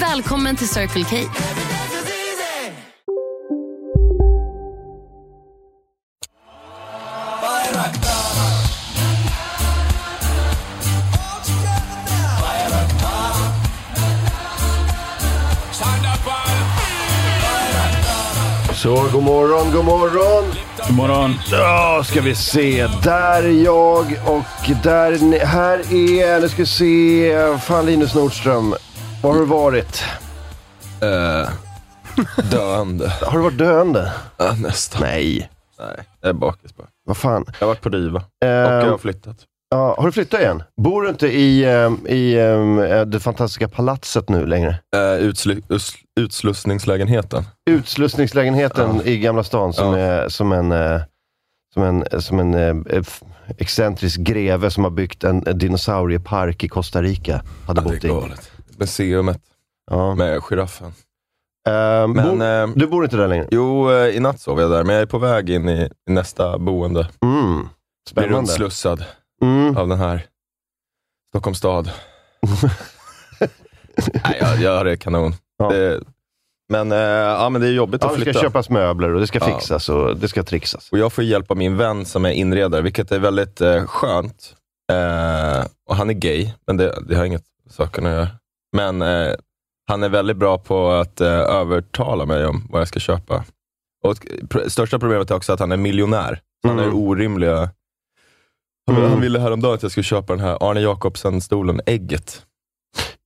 Välkommen till Circle K. Så, god morgon, god morgon. God morgon. Då ska vi se. Där är jag och där är ni. Här är, nu ska vi se, fan Linus Nordström. Var har du varit? Eh, Döende. Har du varit döende? Ja, nästan. Nej. Nej, jag är bakis bara. Vad fan. Jag har varit på Riva och Eh, jag har flyttat. ja, har du flyttat igen? Bor du inte i, ehm, i ehm, eh, det fantastiska palatset nu längre? Eh, utslu- us- utslussningslägenheten. Utslussningslägenheten i Gamla stan som Ja. är som en, eh, som en, som en eh, f- excentrisk greve som har byggt en en dinosauriepark i Costa Rica. Hade bott i. Museumet Ja. med giraffen. Ehm, Men, bor, eh, du bor inte där längre? jo, eh, i natt sov jag där, men jag är på väg in i i nästa boende. Mm. Blir Spännande. rundslussad Mm. av den här Stockholms stad. Nej, jag, jag har det kanon. Ja. Det, men, eh, ja, men det är jobbigt Ja, att det ska flytta. köpas möbler och det ska Ja. fixas och det ska trixas. Och jag får hjälp av min vän som är inredare, vilket är väldigt eh, skönt. Eh, och han är gay, men det, det har inget med saken att göra. Men eh, han är väldigt bra på att eh, övertala mig om vad jag ska köpa. Och pr- största problemet är också att han är miljonär. Så Han Mm. är orimliga... Han, Mm. han ville häromdagen att jag skulle köpa den här Arne Jacobsen-stolen, ägget.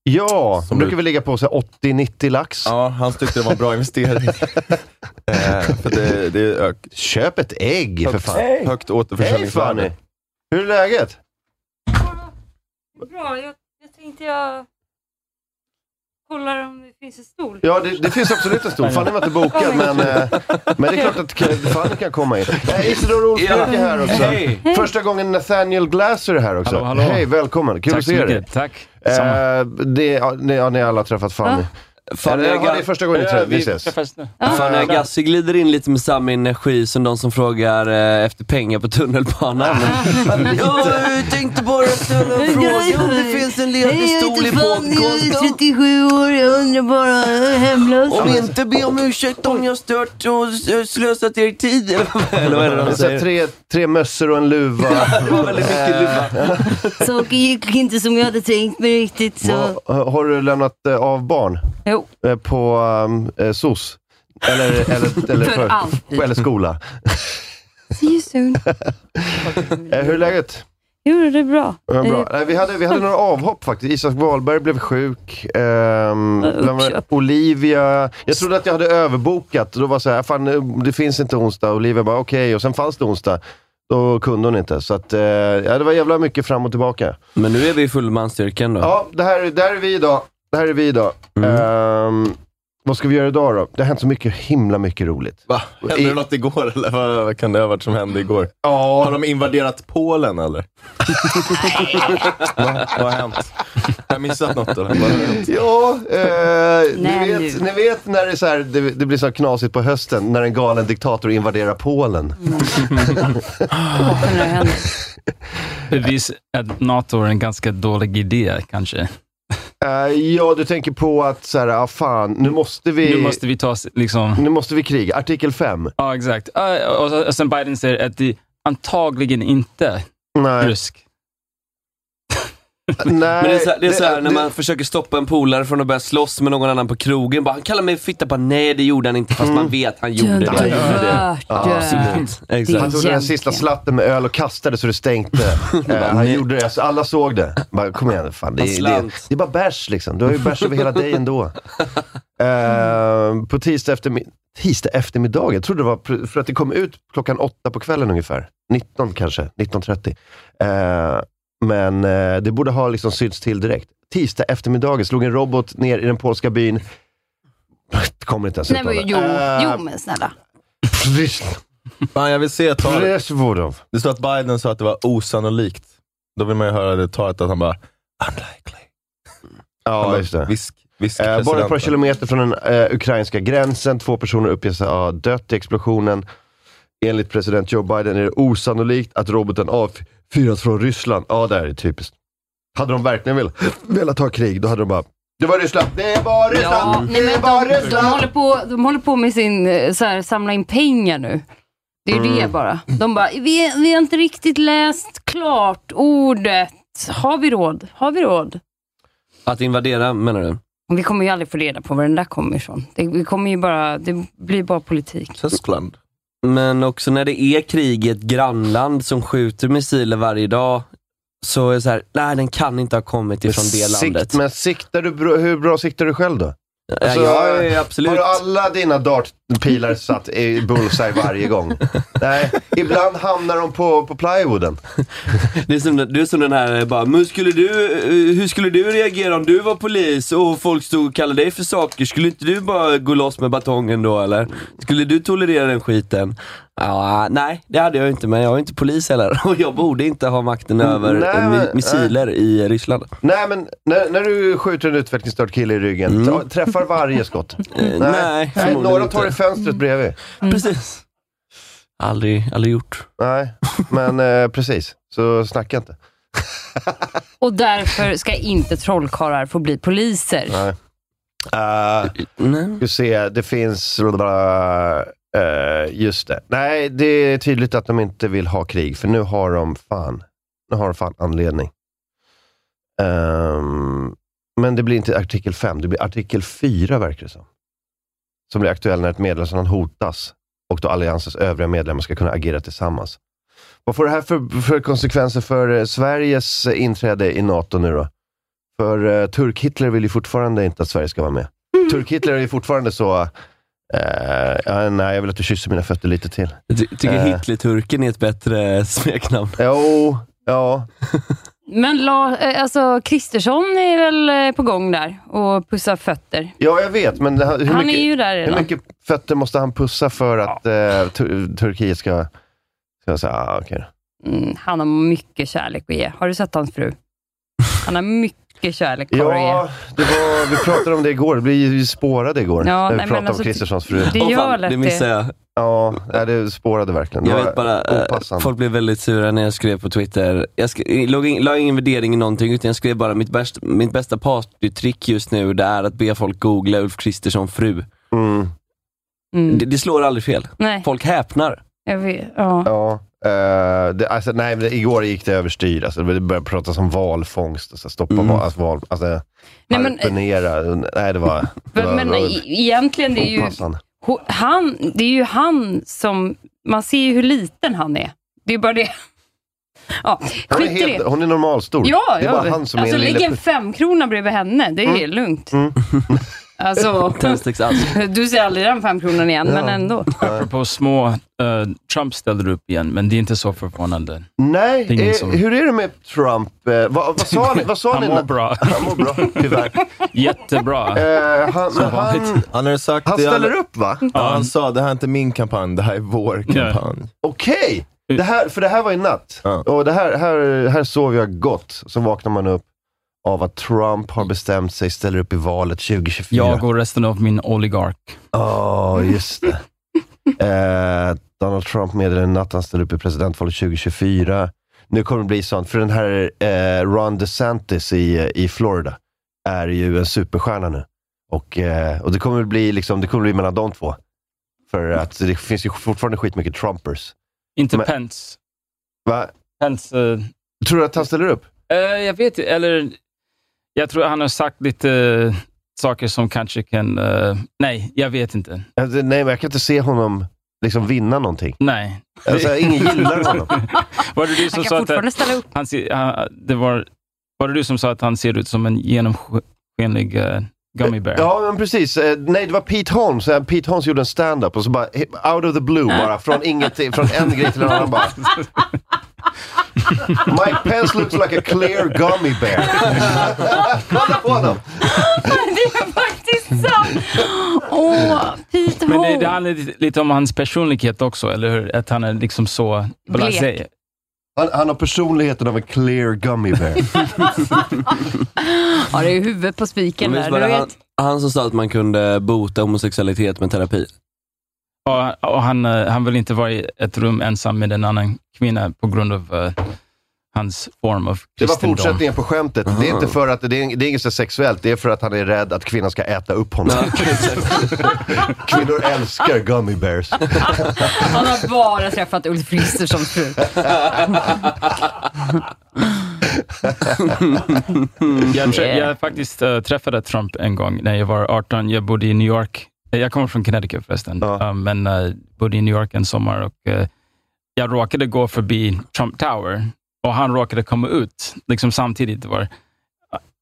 Ja, Som brukar du- vi ligga på så här 80-90 lax. Ja, han tyckte det var en bra investering. eh, för det, det är ök- Köp ett ägg för fan. högt Hej återförsäljningsvärde. Fanny! Hur är läget? Bra, jag, jag tänkte jag kollar om det finns en stol. Ja, det, det finns absolut en stol. Fanny var inte bokad, men, eh, men det är klart att k- Fanny kan komma in. Eh, Isidor Olsbjörk är här också. Hej! Första gången Nathaniel Glaser är här också. Hallå, hallå. Hej, välkommen. Kul Tack att så se dig. mycket. Tack. Samma. Eh, det, ja, ni, ja, ni har alla träffat Fanny. Fan, Eller, jag, ja, det är första gången ni trä- vi vi ses. träffas nu. fan, jag Gassi glider in lite med samma energi som de som frågar eh, efter pengar på tunnelbanan. jag tänkte bara ställa en fråga om det finns en ledig stol i podcasten. 37 år, jag undrar bara, jag är hemlös. Om inte, be om ursäkt om jag stört och eh, slösat er tid. Eller, eller vad är det Det är de så här säger? tre, tre mössor och en luva. Det var väldigt mycket luva. Saker gick inte som jag hade tänkt mig riktigt. Så. Vad- har du lämnat eh, av barn? Jo. Eh, på um, eh, SOS? Eller, eller, eller, För alltid. eller skola? See you soon. Eh, hur är läget? Jo, det är bra. Eh, Bra. Nej, vi, hade, vi hade några avhopp faktiskt. Isak Wahlberg blev sjuk. Ehm, Ja, vem var det? uppköp. Olivia. Jag trodde att jag hade överbokat. Då var det så här, fan, eh, det finns inte onsdag. Olivia bara, okej. Och sen fanns det onsdag. Då kunde hon inte. Så att, eh, ja, det var jävla mycket fram och tillbaka. Men nu är vi i full manstyrkan då. Mm. Ja, det här, det här är vi idag. Det här är vi idag. Ehm, vad ska vi göra idag då? Det har hänt så mycket, himla mycket roligt. Va? Hände det något igår eller vad, vad kan det ha varit som hände igår? Har de invaderat Polen eller? Va? Vad har hänt? Har jag missat något eller? Vad har hänt? Ja, eh, ni, Nej, vet, nu. ni vet när det, är så här, det, det blir så här knasigt på hösten, när en galen diktator invaderar Polen. Vad det händer? Bevis att NATO är en ganska dålig idé kanske. Eh, ja, du tänker på att så här, ah, fan, nu måste vi, Nu måste vi ta oss, liksom... nu måste vi kriga. Artikel 5. Ja, exakt. Ja, Och, så- och sen Biden säger att det antagligen inte är Nej, rysk. Nej, Men det är såhär, det är så här, när det- man försöker stoppa en polare från att börja slåss med någon annan på krogen. Bara, han kallar mig fitta, bara nej det gjorde han inte Mm. fast man vet han gjorde det. han gjorde det. Absolut. Han Exakt. tog den här sista slatten med öl och kastade så det stänkte. Eh, han gjorde det, så alla såg det. Bara, kom igen, fan. Det, Han är- det, slant. det är bara bärs liksom. Du har ju bärs över hela dig ändå. Eh, på tisdag, eftermi- tisdag eftermiddag, jag trodde det var, pr- för att det kom ut klockan åtta på kvällen ungefär. 19 kanske, 19.30. Eh, men eh, det borde ha liksom synts till direkt. Tisdag eftermiddag slog en robot ner i den polska byn. Det kommer inte ens Nej, ut men av det. jo, Eh, jo men snälla. Fan, jag vill se talet. Pressvodov. Det stod att Biden sa att det var osannolikt. Då vill man ju höra det talet att han bara unlikely. Han Ja, bara, just det. Visk, visk Eh, bara ett par presidenten. kilometer från den eh, ukrainska gränsen. Två personer uppges ha dött i explosionen. Enligt president Joe Biden är det osannolikt att roboten avfyrats från Ryssland. Ja, det här är typiskt. Hade de verkligen vel- velat ha krig, då hade de bara det var Ryssland, det var Ja, Ryssland, nej, det men var de, de, Ryssland! håller på, de håller på med sin, eh, så här, samla in pengar nu. Det är ju Mm. det bara. De bara, vi, vi har inte riktigt läst klart ordet. Har vi råd? Har vi råd? Att invadera menar du? Vi kommer ju aldrig få reda på var den där kommer ifrån. Det, vi kommer ju bara, det blir bara politik. Tyskland. Men också när det är krig i ett grannland som skjuter missiler varje dag så är det såhär, nej den kan inte ha kommit ifrån det landet. Sikt, men siktar du, bra- hur bra siktar du själv då? ja, alltså, jag är absolut... Har du alla dina dartpilar satt i bullseye varje gång? Nej, ibland hamnar de på, på plywooden. Det är, som, det är som den här, eh, bara, men skulle du, eh, hur skulle du reagera om du var polis och folk stod och kallade dig för saker? Skulle inte du bara gå loss med batongen då eller? Skulle du tolerera den skiten? Ja, nej, det hade jag ju inte, men jag är inte polis heller och jag borde inte ha makten över Nej, eh, mi- men- missiler i Ryssland. Nej, men när, när du skjuter en utvecklingsstörd kille i ryggen, ta, träffar varje skott? Eh, nej, förmodligen några inte. tar i fönstret bredvid. Precis. Aldrig, aldrig gjort. Nej, men eh, precis. Så snacka inte. Och därför ska inte trollkarlar få bli poliser. Nej. Uh, Nej. du ser, det finns... eh, just det. Nej, det är tydligt att de inte vill ha krig, för nu har de fan, nu har de fan anledning. Ehm, men det blir inte artikel 5, det blir artikel 4 verkar det som. Som blir aktuell när ett medlemsland hotas och då alliansens övriga medlemmar ska kunna agera tillsammans. Vad får det här för, för konsekvenser för eh, Sveriges eh, inträde i NATO nu då? För eh, Turk-Hitler vill ju fortfarande inte att Sverige ska vara med. Turk-Hitler är ju fortfarande så... eh, ja, nej, jag vill att du kysser mina fötter lite till. Jag ty- tycker Eh. Hitlerturken är ett bättre eh, smeknamn. Jo, ja. Men la, eh, alltså, Kristersson är väl eh, på gång där och pussar fötter. Ja, jag vet, men hur mycket... Han är ju där Hur redan. mycket fötter måste han pussa för att eh, Tur- Turkiet ska, ska säga, ah, okej då." Mm, han har mycket kärlek att ge. Har du sett hans fru? Han har mycket kärlek kvar att Ja, det var, vi pratade om det igår. Vi blev ju spårade igår. Ja, när vi nej, men pratade alltså, om Kristerssons fru. ge. Det Åh, gör fan, lätt det missade jag. Ja, nej, det spårade verkligen. Det Jag var vet bara, eh, opassande. folk blev väldigt sura när jag skrev på Twitter. Jag sk- låg in, la ingen värdering i någonting, utan jag skrev bara mitt, bäst, mitt bästa partytrick just nu, det är att be folk googla Ulf Kristersson fru. Mm, Mm. Det, det slår aldrig fel. Nej, Folk häpnar. jag vet. Ja. ja. eh, det, alltså, nej, men det, igår gick det överstyr. Alltså, det började pratas om valfångst. Alltså, stoppa Mm. val, alltså, val, alltså, Nej, nej, men- eh, nej, det var, det var, Men, men det var e- egentligen, det är, ju, opassande. ho- han, det är ju han som... Man ser ju hur liten han är. Det är bara det. Ja, Hon är, skit i helt, det. hon är normalstor. Ja, det är ja. bara han som alltså, är en ligger lille... en femkrona bredvid henne. Det är helt lugnt. Mm. Alltså, Tändsticksallt. du ser aldrig den femkronan igen, men Ja. ändå. Apropå små, eh, Trump ställer upp igen, men det är inte så förvånande. Nej, Det är ingen eh, som- hur är det med Trump? Eh, vad, vad sa ni? Vad sa Han ni mår när- bra. Han mår bra, tyvärr. Jättebra. Eh, han, men han, vanligt. Han har ju sagt han det alla- ställer upp va? Ja, han sa det här är inte min kampanj, det här är vår kampanj. Okej! Mm. Det här, för det här var i natt. Ja. Och det här, här, här sov jag gott. Så vaknar man upp av att Trump har bestämt sig, ställer upp i valet 2024. Jag och resten av min oligark. Ja, just det. Eh, Donald Trump meddelade i natt han ställer upp i presidentvalet 2024. Nu kommer det bli sånt, för den här eh, Ron DeSantis i, i Florida är ju en superstjärna nu. Och, eh, och det kommer bli liksom, det kommer bli mellan de två. För att det finns ju fortfarande skitmycket Trumpers. Inte Men- Pence. Va? Pence, eh, Tror du att han ställer upp? Eh, jag vet ju- eller jag tror han har sagt lite eh, saker som kanske kan... eh, nej, jag vet inte. Alltså, nej, men jag kan inte se honom liksom vinna någonting. Nej. Alltså, ingen gillar honom. Var det du som Han kan sa att eh, fortfarande ställa upp. han ser, han, det var, var det du som sa att han ser ut som en genomskinlig uh, gummy bear? Ja, men precis. Eh, Nej, det var Pete Holmes. Eh, Pete Holmes gjorde en stand-up och så bara, he- out of the blue bara, från ingenting, från en grej till en annan bara. My pants looks like a clear gummy bear. Kolla på honom! Det är faktiskt sant! Åh, Pete Men det, Holm. det handlar lite- lite om hans personlighet också, eller hur? Att han är liksom så blasé. Han, han har personligheten av en clear gummy bear. Ja, det är huvudet på spiken Men visst där. var Du det han, vet. han som sa att man kunde bota homosexualitet med terapi? Och, och han, eh, han vill inte vara i ett rum ensam med en annan kvinna på grund av eh, hans form av Det var kristendom. fortsättningen på skämtet. Det är inte för att, det är, det är inget så sexuellt, det är för att han är rädd att kvinnan ska äta upp honom. Kvinnor älskar gummy bears. Han har bara träffat Ulf Kristerssons fru. Jag, trä, jag faktiskt eh, träffade Trump en gång när jag var 18. Jag bodde i New York. Eh, Jag kommer från Connecticut förresten, Ja. Eh, men eh, bodde i New York en sommar och eh, jag råkade gå förbi Trump Tower och han råkade komma ut liksom samtidigt. Det var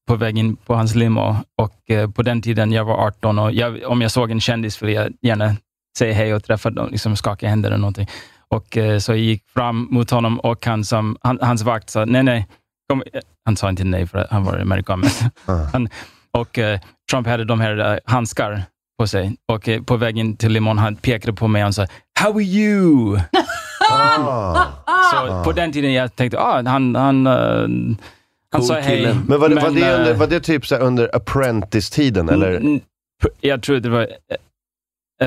på väg in på hans limo och eh, på den tiden jag var 18 och jag, om jag såg en kändis ville jag gärna säga hej och träffa dem, liksom skaka händer eller någonting. Och eh, Så jag gick fram mot honom och han som, han, hans vakt sa nej, nej. Kom. Han sa inte nej för att han var amerikan. Men han, och eh, Trump hade de här eh, handskar på sig och eh, på vägen till limon han pekade på mig och sa ”How are you?” Ah. Så på den tiden jag tänkte ah, han, han, eh, han Cool sa hej. kille. Men var det, var det, eh, under, var det typ så här under apprentice-tiden eller? Mm, p- Jag tror det var eh,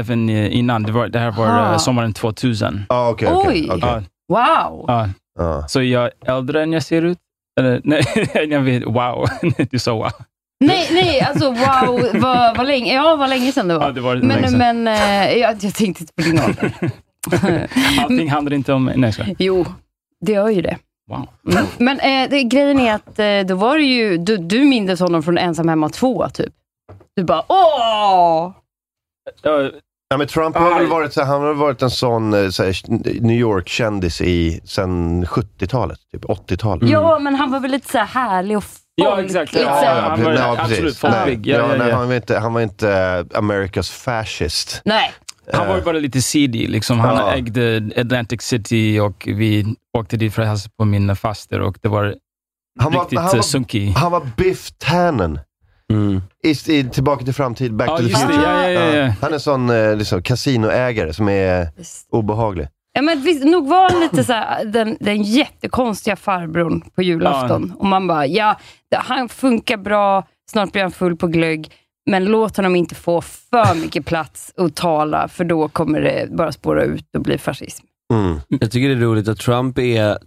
även eh, innan. Det, var, det här var Aha. eh, sommaren 2000. Ja, okej. okej, Oj. okej. Ja, Wow! ja. Ja. Så jag är äldre än jag ser ut? Eller, nej, jag vet, wow. Du sa wow. Nej, nej, alltså wow, vad, vad länge, ja, vad länge sedan det var. Ja, det var länge men sedan. men eh, jag, jag tänkte inte på din ålder. Allting handlar inte om... Nej, så. Jo, det gör ju det. Wow. Mm. Men eh, det, grejen är att eh, då var det ju, du, du mindes honom från Ensam hemma 2, typ. Du bara åh! Ja, Ja, men Trump har väl varit, så här, han har väl varit en sån eh, så här, New York-kändis i sen 70-talet, typ 80-talet. Ja, men han var väl lite så här härlig och folk, Mm. Ja, exakt. Lite Ja, så här, ja, han var absolut folklig. Nej, Ja, ja, ja, nej, ja. Han var inte, han var inte eh, America's fascist. Nej, Han var ju bara lite seedy. Liksom. Han Ja. ägde Atlantic City och vi åkte dit för att hälsa på min faster och det var Han var, riktigt eh, han var, var, sunkig. han var Biff Tannen Mm. i, i Tillbaka till framtid, Back Ja, to the just det. Future. Ja, ja, ja, ja. Han är en sån eh, liksom, kasinoägare som är Visst. obehaglig. Ja, men visst, nog var han lite så här, den, den jättekonstiga farbrorn på julafton. Och man bara, ja, det- han funkar bra, snart blir han full på glögg, men låt honom inte få för mycket plats att tala, för då kommer det bara spåra ut och bli fascism. Mm. Jag tycker det är roligt att Trump är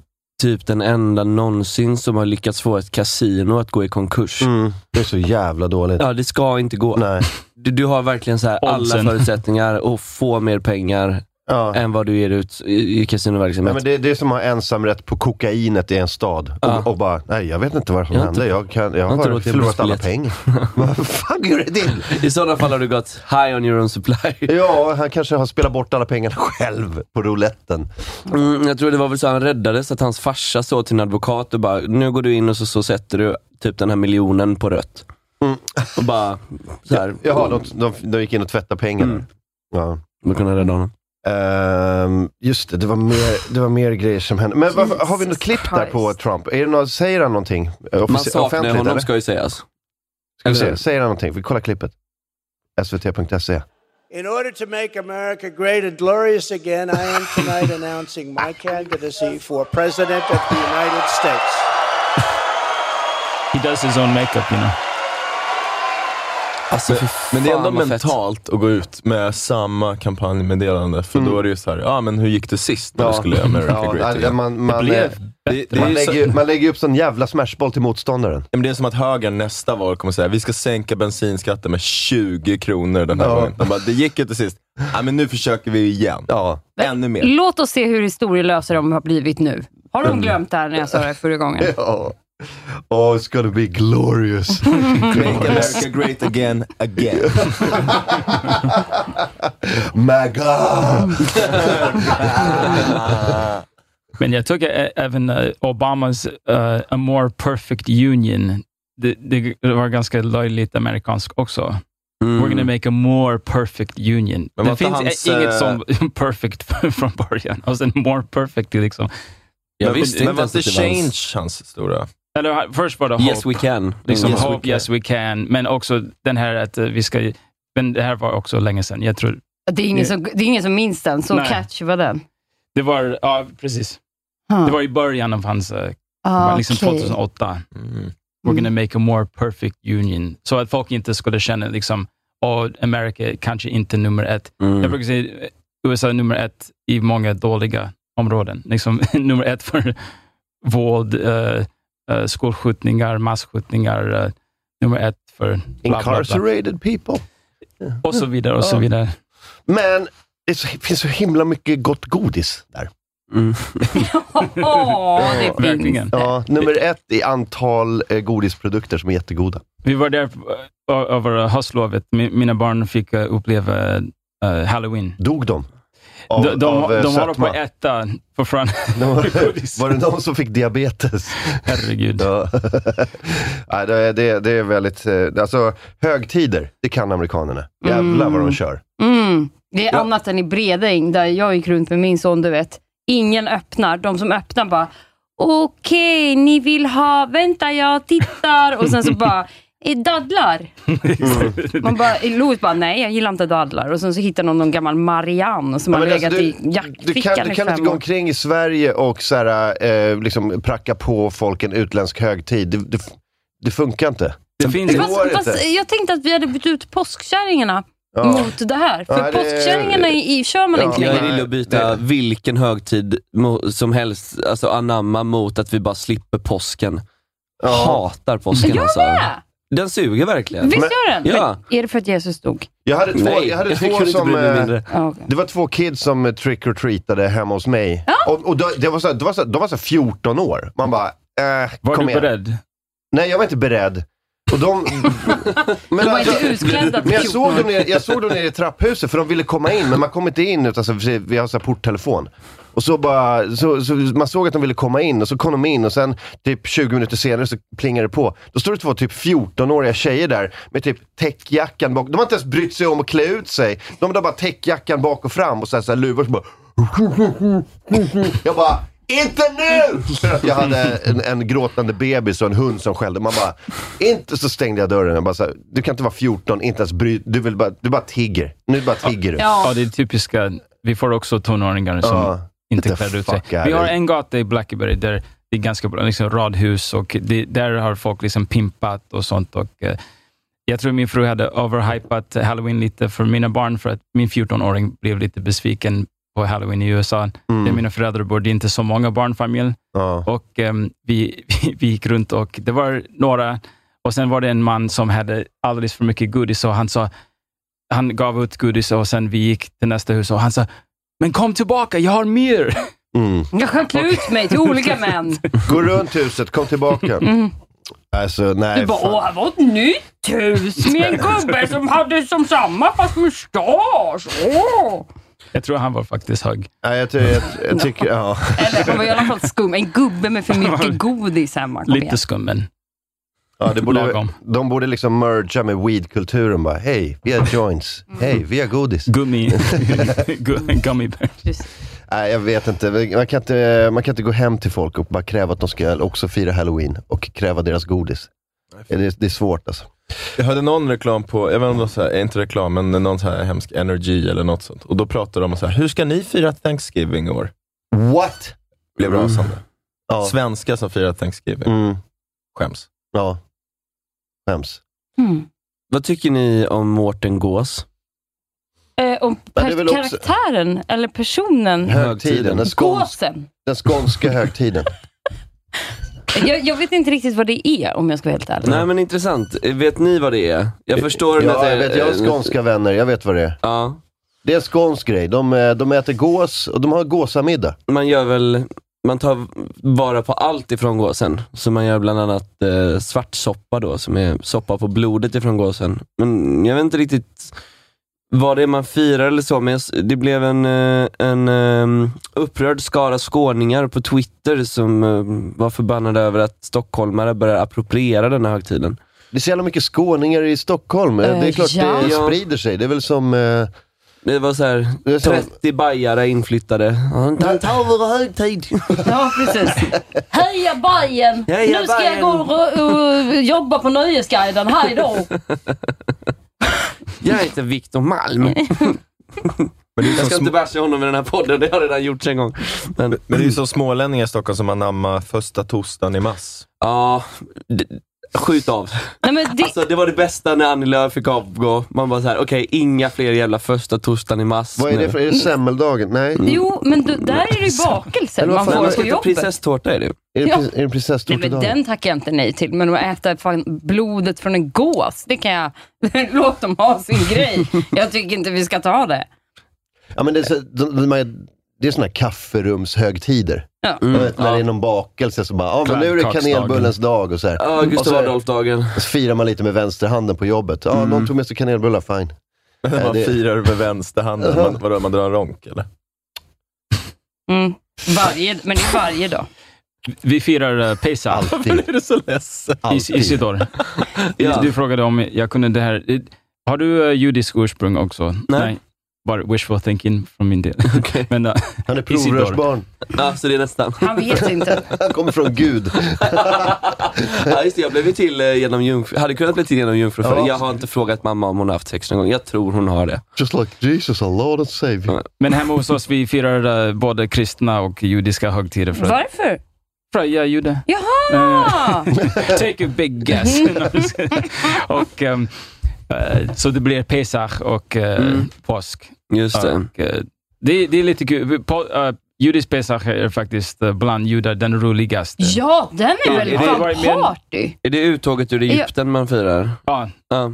typ den enda någonsin som har lyckats få ett kasino att gå i konkurs. Mm. Det är så jävla dåligt. Ja, det ska inte gå. Nej. Du, du har verkligen så här alla Oddsen. förutsättningar att få mer pengar Ja. än vad du ger ut i, i Nej, kasinoverksamhet. men det, det är som att ha ensamrätt på kokainet i en stad. Ja. Och, och bara, nej jag vet inte vad som Jag har hände. Jag, kan, jag har, har inte råd till förlorat alla pengar. bussbiljett. vad fan gör det till? I sådana fall har du gått high on your own supply. Ja, han kanske har spelat bort alla pengarna själv på rouletten. Mm, jag tror det var väl så han räddades, att hans farsa sa till en advokat och bara, nu går du in och så, så sätter du typ den här miljonen på rött. Och bara, så här. Jaha, de, de, de gick in och tvättade pengarna. Mm. Ja. Man kunde rädda honom. Ehm, just det, det var, mer, det var mer grejer som hände. Men varför, har vi något klipp där på Christ. Trump? Är det något, säger han någonting? eh, Man Offici- saknar offentligt? honom Eller? ska ju sägas. Ska vi eller? se, säger han någonting? Vi kollar klippet. SVT.se. In order to make America great and glorious again, I am tonight announcing my candidacy for President of the United States. He does his own makeup, you know. Alltså, men, Men det är ändå vad fett. mentalt att gå ut med samma kampanjmeddelande, för då är det ju så här, ja ah, men hur gick det sist när Ja. du skulle göra America Ja, great nej, again? man, man, blev eh, Det, det, är man, ju lägger, så, ju- man lägger ju upp sån jävla smashboll till motståndaren. men det är som att högern nästa val kommer säga, vi ska sänka bensinskatten med 20 kronor den här Ja. gången. De bara, det gick ju till sist. Ja men nu försöker vi igen. Ja. Ännu Mm. mer. Låt oss se hur historielösa de har blivit nu. Har de glömt det här när jag sa det förra gången? Ja. Oh, it's gonna be glorious. Make America great again, again. Maga! Men jag tycker ä- även eh, Obamas eh, A more perfect union, det, det var ganska löjligt amerikanskt också. Mm. We're Mm. gonna make a more perfect union. Men var det inte finns hans, ä- inget eh, som perfect från början. Och sen more perfect, liksom. Jag Men- visste men inte var ens att inte det var Change hans, hans stora... Eller ha- först var det hope. Yes we can. Liksom yes, we hope, yes we can. Men också den här att eh, vi ska... Men det här var också länge sedan. Jag tror... Det är ingen som, det är ingen som minns den, så Nej. catchy var den. Det var... Ja, precis. Huh. Det var i början av hans... eh, Ah, liksom okej. 2008. Mm. We're gonna make a more perfect union. Så att folk inte skulle känna liksom, oh, America är kanske inte nummer ett. Mm. Mm. Jag brukar säga eh, USA är nummer ett i många dåliga områden. Liksom, nummer ett för våld, eh, eh, skolskjutningar, masskjutningar. eh, nummer ett för bla, bla, bla, Incarcerated people. Och så vidare och så Ja. vidare. Men det är så- finns så himla mycket gott godis där. Mm. Åh, det finns. Verkligen. Ja, nummer ett i antal eh, godisprodukter som är jättegoda. Vi var där eh, ö- över höstlovet. Mi- Mina barn fick eh, uppleva eh, Halloween. Dog de? Av, de de, av, eh, de håller på sötma. att äta fortfarande. De godis. var, var det de som fick diabetes? Herregud. Ja. Nej, det, är- det, är- det är väldigt... eh, Alltså, högtider, det kan amerikanerna. Jävlar vad de kör. Mm. Det är annat än i Bredäng, där jag gick runt med min son, du vet. Ingen öppnar. De som öppnar bara, okej, ni vill ha, vänta jag tittar. Och sen så bara, "Eh, dadlar. Man bara, Louis bara, nej jag gillar inte dadlar. Och sen så hittar någon någon gammal Marianne som Ja, har men legat alltså, i du, kan, jackfickan du i kan inte fem gå år. omkring i Sverige och så här, eh, liksom, pracka på folk en utländsk högtid. Det, det, det funkar inte. Det finns Det går Fast, inte. fast jag tänkte att vi hade bytt ut påskkärringarna Ja. mot det här. För Ja, det- påskkärringarna i, i kör man Ja. inte Nej, Jag längre. är villig att byta vilken högtid mo- som helst, alltså anamma mot att vi bara slipper påsken. Hatar påsken Jag alltså. med! Den suger verkligen. Visst Men- gör den? Ja. Är det för att Jesus dog? Jag hade två, Nej, jag hade två kunde inte som... bry mig eh, mindre. Ja, okej. Det var två kids som eh, trick-or-treatade hemma hos mig. Och, och då, det var så, här- det var så, här- de var så här 14 år. Man bara, eh, Var kom du igen. beredd? Nej, jag var inte beredd. Och de... men, De var alltså- inte utklädda men till jag såg, dem nere, jag såg dem nere i trapphuset, för de ville komma in, men man kom inte in. Utan så, vi har så här porttelefon. Och så bara, så, så, man såg att de ville komma in och så kom de in och sen typ 20 minuter senare så plingar det på. Då står det två typ 14-åriga tjejer där med typ täckjackan bak. De har inte ens brytt sig om att klä ut sig. De har bara täckjackan bak och fram och så här, så här luvor som bara... Jag bara, inte nu! Jag hade en, en gråtande bebis och en hund som skällde. Man bara, inte så stängde jag dörren. Jag bara, så här, du kan inte vara 14, inte ens bry Du, vill bara, du bara tigger. Nu bara tigger du. Ja, det är typiska. Vi får också tonåringar som Ja. inte Get the klär ut sig. fuck out Vi har of- en gata i Blackeberry där det är ganska bra liksom radhus och det, där har folk liksom pimpat och sånt. Och, eh, jag tror min fru hade överhypat halloween lite för mina barn, för att min 14-åring blev lite besviken på halloween i USA. Mm. Där mina föräldrar bor, det är inte så många barnfamiljer. Ja. Och ehm, vi, vi, vi gick runt och det var några, och sen var det en man som hade alldeles för mycket godis och han sa, han gav ut godis och sen vi gick till nästa hus och han sa, men kom tillbaka, jag har mer! Mm. Jag kan klä ut mig till olika män. Gå runt huset, kom tillbaka. Alltså, nej. Mm. Du bara, fan. åh, här var ett nytt hus med en gubbe som hade som samma fast mustasch. Åh! Jag tror han var faktiskt hög. nej, jag, ty- jag, jag tycker... Ja. Eller han var i alla fall skum. En gubbe med för mycket godis hemma. Kom igen. Lite skum, men Ja, det borde, Lagom. de borde liksom mergea med weedkulturen. bara, Hej, vi har joints. Mm. Hej, vi har godis. gummi, gu- gummy bear. Nej, jag vet inte. Man kan inte. man kan inte gå hem till folk och bara kräva att de ska också fira halloween och kräva deras godis. Det är, det är svårt alltså. Jag hörde någon reklam på, jag vet inte om det var så här, inte reklam, men någon så här hemsk energy eller något sånt. Och då pratade de om så här, hur ska ni fira Thanksgiving i år? What? Blev rasande. Mm. Ja. Svenskar som firar Thanksgiving. Mm. Skäms. Ja. Skäms. Mm. Vad tycker ni om Mårten Gås? Eh, och det är väl per- också- karaktären, eller personen, Högtiden. Den, skåns, gåsen. den skånska högtiden. Jag, jag vet inte riktigt vad det är om jag ska vara helt ärlig. Nej men intressant. Eh, Vet ni vad det är? Jag förstår att Eh, Ja, det jag, vet, jag har skånska vänner, jag vet vad det är. Ja, Det är en skånsk grej. De, eh, de äter gås och de har gåsamiddag. man gör väl man tar vara på allt ifrån gåsen. Så man gör bland annat eh, svartsoppa då, som är soppa på blodet ifrån gåsen. Men jag vet inte riktigt vad det är man firar eller så, men jag s- det blev en, eh, en eh, upprörd skara skåningar på Twitter som eh, var förbannade över att stockholmare börjar appropriera den här högtiden. Det är så jävla mycket skåningar i Stockholm. Eh, det är klart ja. det sprider sig. Det är väl som... eh, det var så här, 30 bajare inflyttade. Ja, Ta, ta vår högtid! Ja, precis. Heja Bajen! Heja nu ska Bajen! jag gå och, och jobba på Nöjesguiden. Hej då! Jag heter Viktor Malm. jag ska inte basha honom i den här podden, det har jag redan gjort en gång. Men, men det är ju så smålänningar i Stockholm som anammar första torsdagen i mass. Ja, skjut av. Nej, men det, Alltså, det var det bästa när Annie Lööf fick avgå. Man bara så här, okej, inga fler jävla första torsdagen i mass. Vad är det för... Är det semmeldagen? Nej. Mm. jo, men du, där är det ju bakelser Eller vad man fan, får man ska på äta jobbet. prinsesstårta är det ju. Är Ja. det, ja. det Nej, prinsesstårta men idag? den tackar jag inte nej till, men att äta fan blodet från en gås, det kan jag... Låt dem ha sin grej. Jag tycker inte vi ska ta det. Ja, men det är, så, de, de, här- det är såna här kafferumshögtider. Ja. Mm. Jag vet, när det är någon bakelse så bara, ja men nu är det Kladdkaksdagen. kanelbullens dag och så här. Ja, och så, Gustav Adolf-dagen. så firar man lite med vänsterhanden på jobbet. Ja, någon tog med sig kanelbullar, fine. Man firar med vänsterhanden. Man, vadå, man drar en ronk eller? Mm. Varje, men det är varje dag. Vi firar uh, Pesach. Alltid. är du så ledsen? Is, Isidor. Ja. Du frågade om jag kunde det här. Eh, Har du eh, judisk ursprung också? Nej. Bara wishful thinking från min del. Men, eh, Han är Isidor. provrörsbarn. Ja, så det är nästan. Han vet inte. Han kommer från Gud. Ja, just det, jag blev ju till eh, genom jungfru. Hade kunnat bli till genom jungfru för Ja. Jag har inte frågat mamma om hon har haft sex någon gång. Jag tror hon har det. Just like Jesus, our Lord and Savior. men hemma hos oss vi firar eh, både kristna och judiska högtider. För, att- Varför? för att jag är jude. Jaha! Take a big guess. och, ehm, eh, så det blir Pesach och eh, påsk. Just det. Och, eh, det, det är lite kul. På, eh, judisk Pesach är faktiskt eh, bland judar den roligaste. Ja, den är väl Det har varit fan mer än- party? Är det uttåget ur Egypten man firar? Ja, Ja.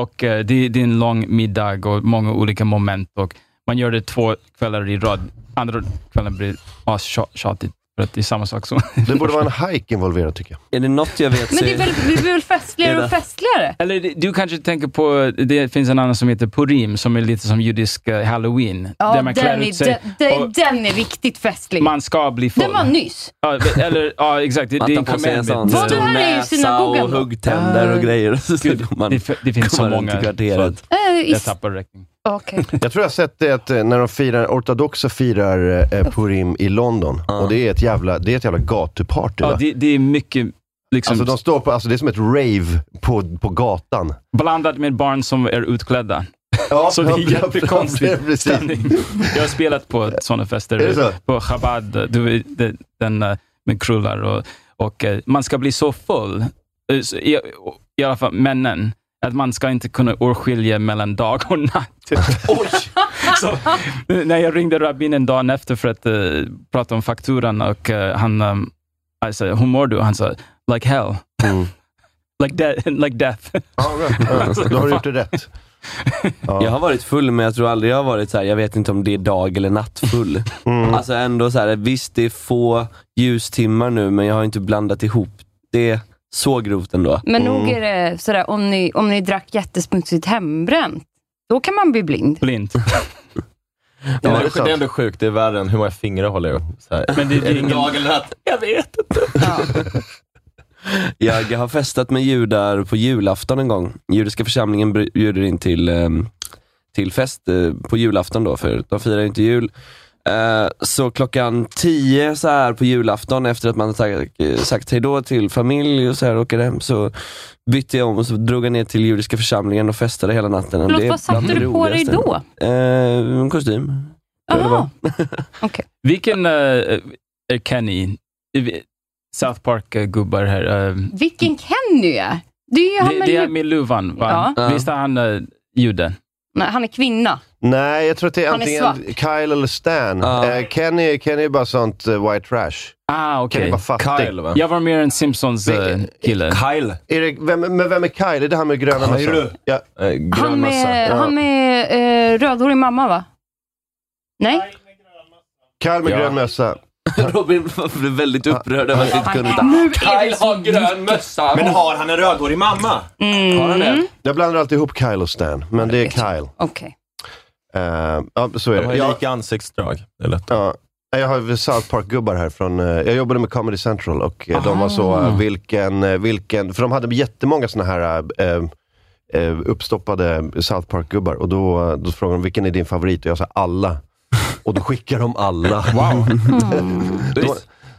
och eh, det, det är en lång middag och många olika moment. Och man gör det två kvällar i rad. Andra kvällen blir astjatigt, för att det är samma sak som... Det borde vara en hajk involverad tycker jag. Är det något jag vet Men så det är väl, det blir väl Det festligare är och det. festligare? Eller det- du kanske tänker på, det finns en annan som heter Purim, som är lite som judisk eh, halloween. Ja, där man klär den ut är, sig. den, den, och den är riktigt festlig. Man ska bli full. Den var nyss. Ja, men- eller, ja exakt. Det, det är en man tar på sig en sån commandment. Vad det stor här är ju näsa synagogan och då. huggtänder och grejer. Och så Gud, man, det, f- det finns så kommer runt många. i kvarteret. så Äh, Jag is, tappar räkningen. okay. Jag tror jag har sett det att eh, när de firar, ortodoxa firar eh, Purim i London. Och det är ett jävla, det är ett jävla gatuparty Ja, va? det, det är mycket, liksom, Alltså de står på, alltså det är som ett rave på, på gatan. blandat med barn som är utklädda. Ja, Så det är ja, jättekonstig ja, precis. stämning. Jag har spelat på sådana fester. Är det så? På Chabad, du, vet, det- den eh, med krullar och, och eh, man ska bli så full, eh, så i, i alla fall männen, att man ska inte kunna urskilja mellan dag och natt. Oj! så, när jag ringde rabbinen dagen efter för att eh, prata om fakturan och eh, han um, jag sa, hur mår du? Han sa, like hell. Mm. like, de- like death. Ja, rätt. Ja, Då har du gjort det rätt. Jag har varit full men jag tror aldrig jag har varit så här. jag vet inte om det är dag eller nattfull. Mm. Alltså ändå så här, visst det är få ljustimmar nu men jag har inte blandat ihop det så grovt ändå. Men nog är det sådär, om ni, om ni drack jättesmutsigt hembränt, då kan man bli blind. Blint. Det, det är är, sant. det är ändå sjukt, det är värre än hur många fingrar håller jag upp. Så här. Men det, det är ingen... Dag eller natt? Jag vet inte. Ja. Jag har festat med judar på julafton en gång. Judiska församlingen br- bjuder in till, ehm, till fest eh, på julafton då, för de firar ju inte jul. Eh, Så klockan 10 så här på julafton efter att man sagt, eh, sagt hejdå till familj och så här åker hem så bytte jag om och så drog jag ner till judiska församlingen och festade hela natten. Förlåt, är vad bland satte det du på dig roligaste. då? Eh, en kostym. tror jag det var. Jaha, Vilken eh, är Kenny? South Park-gubbar här. eh, vilken Kenny är. Det är ju han det, med det är lu- med luvan, va? Ja. Visst är han uh, juden? Nej, han är kvinna. Nej, jag tror att det är Han är antingen Kyle eller Stan. Ja. Eh, Kenny, Kenny är bara sånt eh, white trash. Ah, Kenny okej. är bara fattig. Kyle va? Jag var mer en eh, Simpsons-kille. Kyle. Är det, vem, men vem är Kyle? Är det han med gröna Kyle. mössan? Ja. Eh, grön Han med, mössa. han med eh, rödhårig mamma, va? Nej? Kyle med Ja. grön mössa. Robin blev väldigt upprörd över att vi inte kunde hitta. Nu är det Kyle så har grön mössa. Men har han en rödhårig mamma? Mm. Har han det? Jag blandar alltid ihop Kyle och Stan, men det är Kyle. Okej. Eh, ja, så är De det. har ju Jag- lika ansiktsdrag. Det är lätt. Ja. Jag har South Park-gubbar här. Från, eh, jag jobbade med Comedy Central och eh, de var så, Ah. eh, vilken, eh, vilken... För de hade jättemånga såna här eh, eh, uppstoppade South Park-gubbar. Och då, då frågade de, vilken är din favorit? Och jag sa, alla. Och då skickar de alla. Wow. de,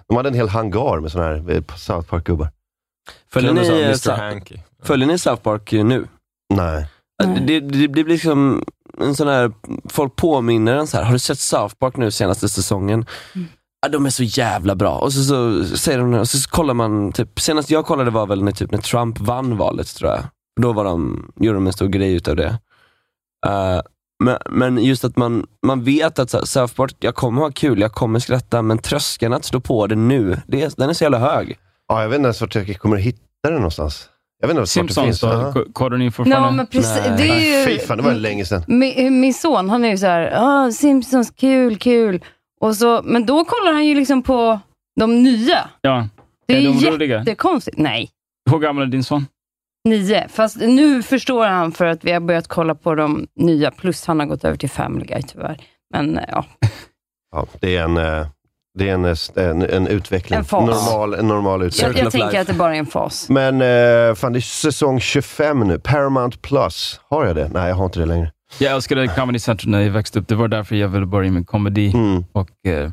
de hade en hel hangar med såna här eh, South Park-gubbar. Följer ni, eh, Mr South- Hanky. följer ni South Park eh, nu? Nej. Det, det, det blir liksom en sån här, folk påminner en så här, har du sett South Park nu senaste säsongen? Ja, de är så jävla bra. Och så, så säger de och så, så kollar man, typ, senast jag kollade var väl när, typ, när Trump vann valet tror jag. Då var de, gjorde de en stor grej utav det. Eh, men, men just att man, man vet att så här, South Park, jag kommer ha kul, jag kommer skratta, men tröskeln att slå på det nu, det, är- den är så jävla hög. Ja, jag vet inte ens vart jag kommer hitta den någonstans. Jag vet inte vart det Simpsons finns. då? Ja. Ko- Kollar ni Ja, fortfarande? men precis. Nej. Det är ju... Fy fan, det var länge sedan. Min, min son, han är ju så här, ah, Simpsons, kul, kul. Och så, men då kollar han ju liksom på de nya. Ja. Det är, är de ju roliga? jättekonstigt. Nej, Hur gammal är din son? nio. Fast nu förstår han för att vi har börjat kolla på de nya, plus han har gått över till Family Guy tyvärr. Men eh, ja, Ja, det är en, eh, det är en, eh, en, en utveckling. En fas. Normal, en normal utveckling. jag, jag tänker att det bara är en fas. Men eh, fan, det är säsong 25 nu. Paramount Plus. Har jag det? Nej, jag har inte det längre. Jag älskade Comedy Central när jag växte upp. Det var därför jag ville börja med komedi. Mm. Och, eh,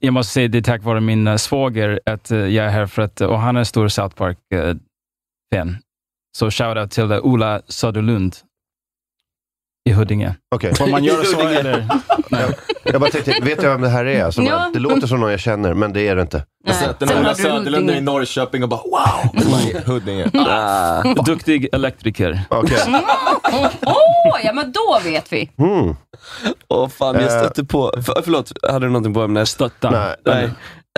jag måste säga det är tack vare min eh, svåger att eh, jag är här, för att, och han är en stor South Park-fan. Så shoutout till eh, Ola Söderlund i Huddinge. Okej. Får man göra så eller? Nej. Jag bara tänkte, vet jag vem det här är? Alltså, Ja. bara, det låter som någon jag känner, men det är det inte. Jag har sett den Sen här har du Söderlund Huddinge. i Norrköping och bara wow! Huddinge. Ah. Duktig elektriker. Okej. Åh, Mm. åh, ja men då vet vi. Mm. Åh fan, jag Eh. stötte på, för, förlåt, hade du någonting på ämnet? Stötta. Nej. Nej.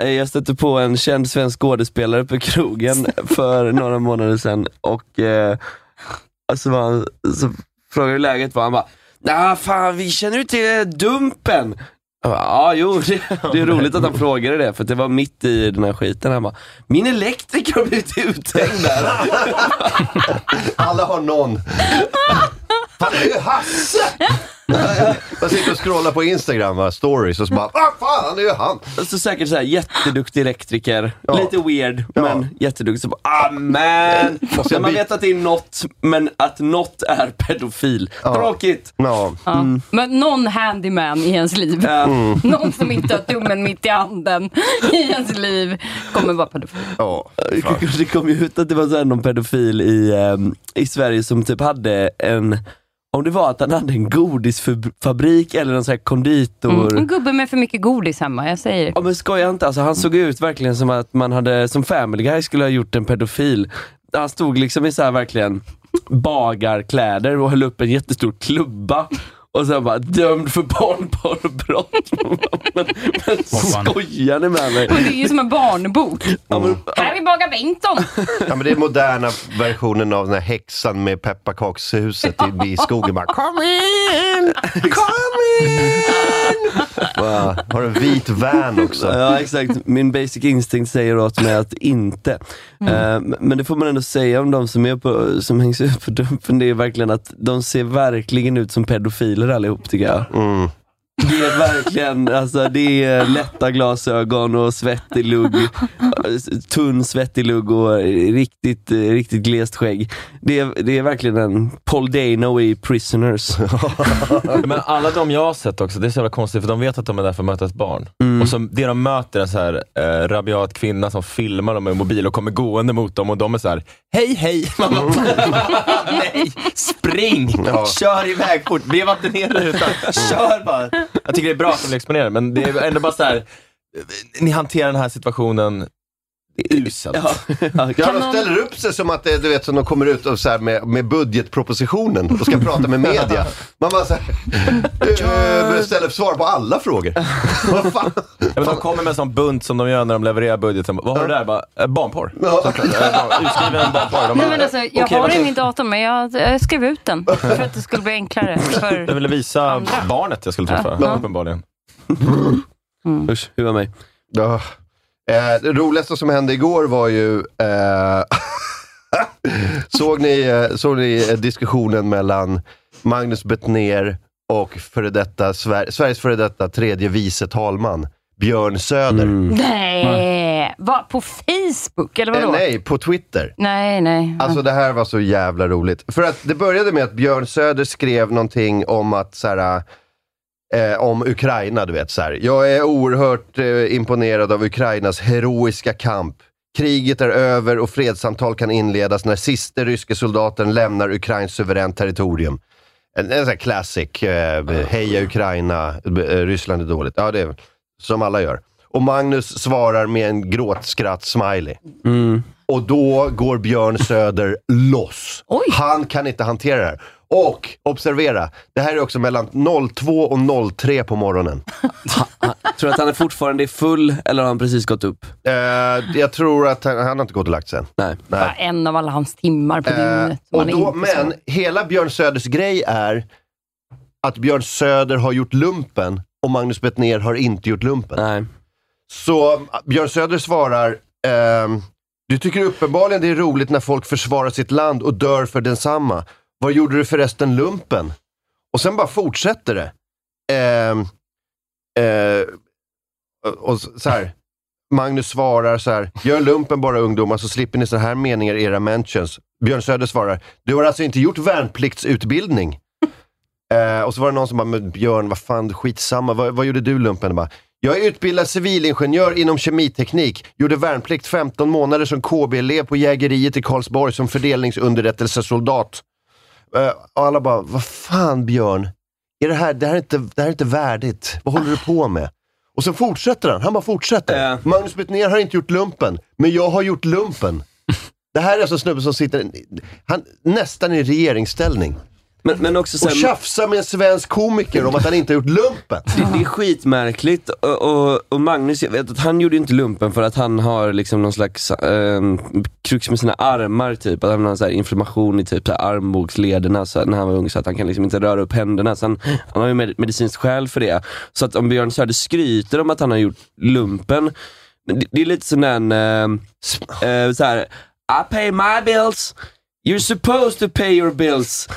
Eh, Jag stötte på en känd svensk skådespelare på krogen för några månader sedan och eh, alltså var han, så frågade jag hur läget var, han bara Nah, fan vi känner ju till eh, Dumpen. Jag bara, Ja, jo, det, det är roligt att han frågade det för att det var mitt i den här skiten. Han bara, min elektriker har blivit uthängd där. Alla har någon. Fan, det är ju Hasse! Man sitter och scrollar på Instagram, va? stories, och så bara, ah, fan, det är ju han! Så säkert såhär jätteduktig elektriker, lite weird, men jätteduktig. Så bara, ah man! Måste När jag man by- vet att det är något, men att något är pedofil. Tråkigt! Ja. Ja. Mm. Men någon handyman i ens liv. Ja. Någon som inte har tummen mitt i handen i ens liv kommer vara pedofil. ja. Det kom ju ut att det var så här någon pedofil i, ehm, i Sverige som typ hade en, om det var att han hade en godisfabrik eller någon sån här konditor. Mm. En gubbe med för mycket godis hemma, jag säger det. Ja men skoja inte alltså, han såg ut verkligen som att man hade, som Family Guy skulle ha gjort en pedofil. Han stod liksom i så här verkligen bagarkläder och höll upp en jättestor klubba. Och sen bara dömd för barnporrbrott. Men, men fan. skojar ni med mig? Och det är ju som en barnbok. Här vi bagar Bengtsson. Ja, men det är moderna versionen av den här häxan med pepparkakshuset i, i skogen. Bara, kom in! Kom in! Va, har en vit van också. Ja exakt, min basic instinct säger åt mig att inte. Eh, men det får man ändå säga om de som, är på, som hängs ut på Dumpen, det är verkligen att de ser verkligen ut som pedofiler allihop tycker jag. Mm. Det är verkligen, alltså det är lätta glasögon och svettig lugg. Tunn svettig lugg och riktigt, eh, riktigt glest skägg. Det är, det är verkligen en Paul Dano i Prisoners. Men alla de jag har sett också, det är så jävla konstigt för de vet att de är där för att möta ett barn. Och så, det de möter är en så här, eh, rabiat kvinna som filmar dem med mobil och kommer gående mot dem och de är så här: hej hej! Man bara, Nej, spring! Ja. Kör iväg fort, blev inte ner där utan kör bara! Jag tycker det är bra att de blir exponerade men det är ändå bara så här. eh, ni hanterar den här situationen uselt. Ja, de ställer upp sig som att det, du vet, som de kommer ut och så här med, med budgetpropositionen och ska prata med media. Man bara så här, eh, ställer svar på alla frågor. Vad fan? Ja, men de kommer med en sån bunt som de gör när de levererar budgeten. Vad har du där? Bara, "Eh, barnporr. Ja. Utskriven barnporr. Nej, De bara, men alltså, jag "Okej, har vad- det i min dator, men jag, jag skrev ut den för att det skulle bli enklare. Jag För, ville visa barnet jag skulle träffa, Ja. uppenbarligen. Usch, hur var mig. Ja. Eh, det roligaste som hände igår var ju... Eh, såg, ni, eh, såg ni eh, diskussionen mellan Magnus Bettner och före detta, Sver- Sveriges före detta tredje vice talman, Björn Söder? Mm. Nej! Va, på Facebook eller Eh, vadå? nej, på Twitter. Nej, nej. Alltså det här var så jävla roligt. För att det började med att Björn Söder skrev någonting om att så här, eh, om Ukraina, du vet. Så här. Jag är oerhört eh, imponerad av Ukrainas heroiska kamp. Kriget är över och fredssamtal kan inledas när siste ryske soldaten lämnar Ukrains suveränt territorium. En, en sån här classic, eh, heja Ukraina, eh, Ryssland är dåligt. Ja, det är som alla gör. Och Magnus svarar med en gråtskratt-smiley. mm. Och då går Björn Söder loss. Han kan inte hantera det här. Och observera, det här är också mellan 02 och 03 på morgonen. Ah, Tror du att han är fortfarande är full eller har han precis gått upp? Eh, jag tror att han, han har inte gått och lagt sig än. Nej. Bara en av alla hans timmar på dygnet. Eh, och Man är då, inte så- men hela Björn Söders grej är att Björn Söder har gjort lumpen och Magnus Bettner har inte gjort lumpen. Nej. Så eh, Björn Söder svarar, ehm, du tycker uppenbarligen det är roligt när folk försvarar sitt land och dör för densamma. Vad gjorde du förresten lumpen? Och sen bara fortsätter det. Ehm, eh, och så så här, Magnus svarar så här, gör lumpen bara ungdomar så slipper ni så här meningar i era mentions. Björn Söder svarar, du har alltså inte gjort värnpliktsutbildning? Eh, och så var det någon som bara, men Björn, vad fan, skitsamma. Vad, vad gjorde du lumpen? Jag Bara, jag är utbildad civilingenjör inom kemiteknik. Gjorde värnplikt 15 månader som KB-elev på jägeriet i Karlsborg som fördelningsunderrättelsesoldat. Eh, och alla bara, vad fan Björn? Är det, här, det, här är inte, det här är inte värdigt. Vad håller du på med? Och så fortsätter han. Han bara fortsätter. Magnus Bettner har inte gjort lumpen, men jag har gjort lumpen. Det här är alltså en snubbe som sitter han, nästan i regeringsställning. Men, men också så Och här- tjafsar med en svensk komiker om att han inte har gjort lumpen. Det, det är skitmärkligt och, och, och Magnus, jag vet att han gjorde ju inte lumpen för att han har liksom någon slags eh, krux med sina armar typ. Att han har så här inflammation i typ så här armbågslederna så här, när han var ung så att han kan liksom inte röra upp händerna. Så han, han har ju med, medicinskt skäl för det. Så att om Björn Söder skryter om att han har gjort lumpen, men det, det är lite sån en eh, eh, så här, I pay my bills, you're supposed to pay your bills.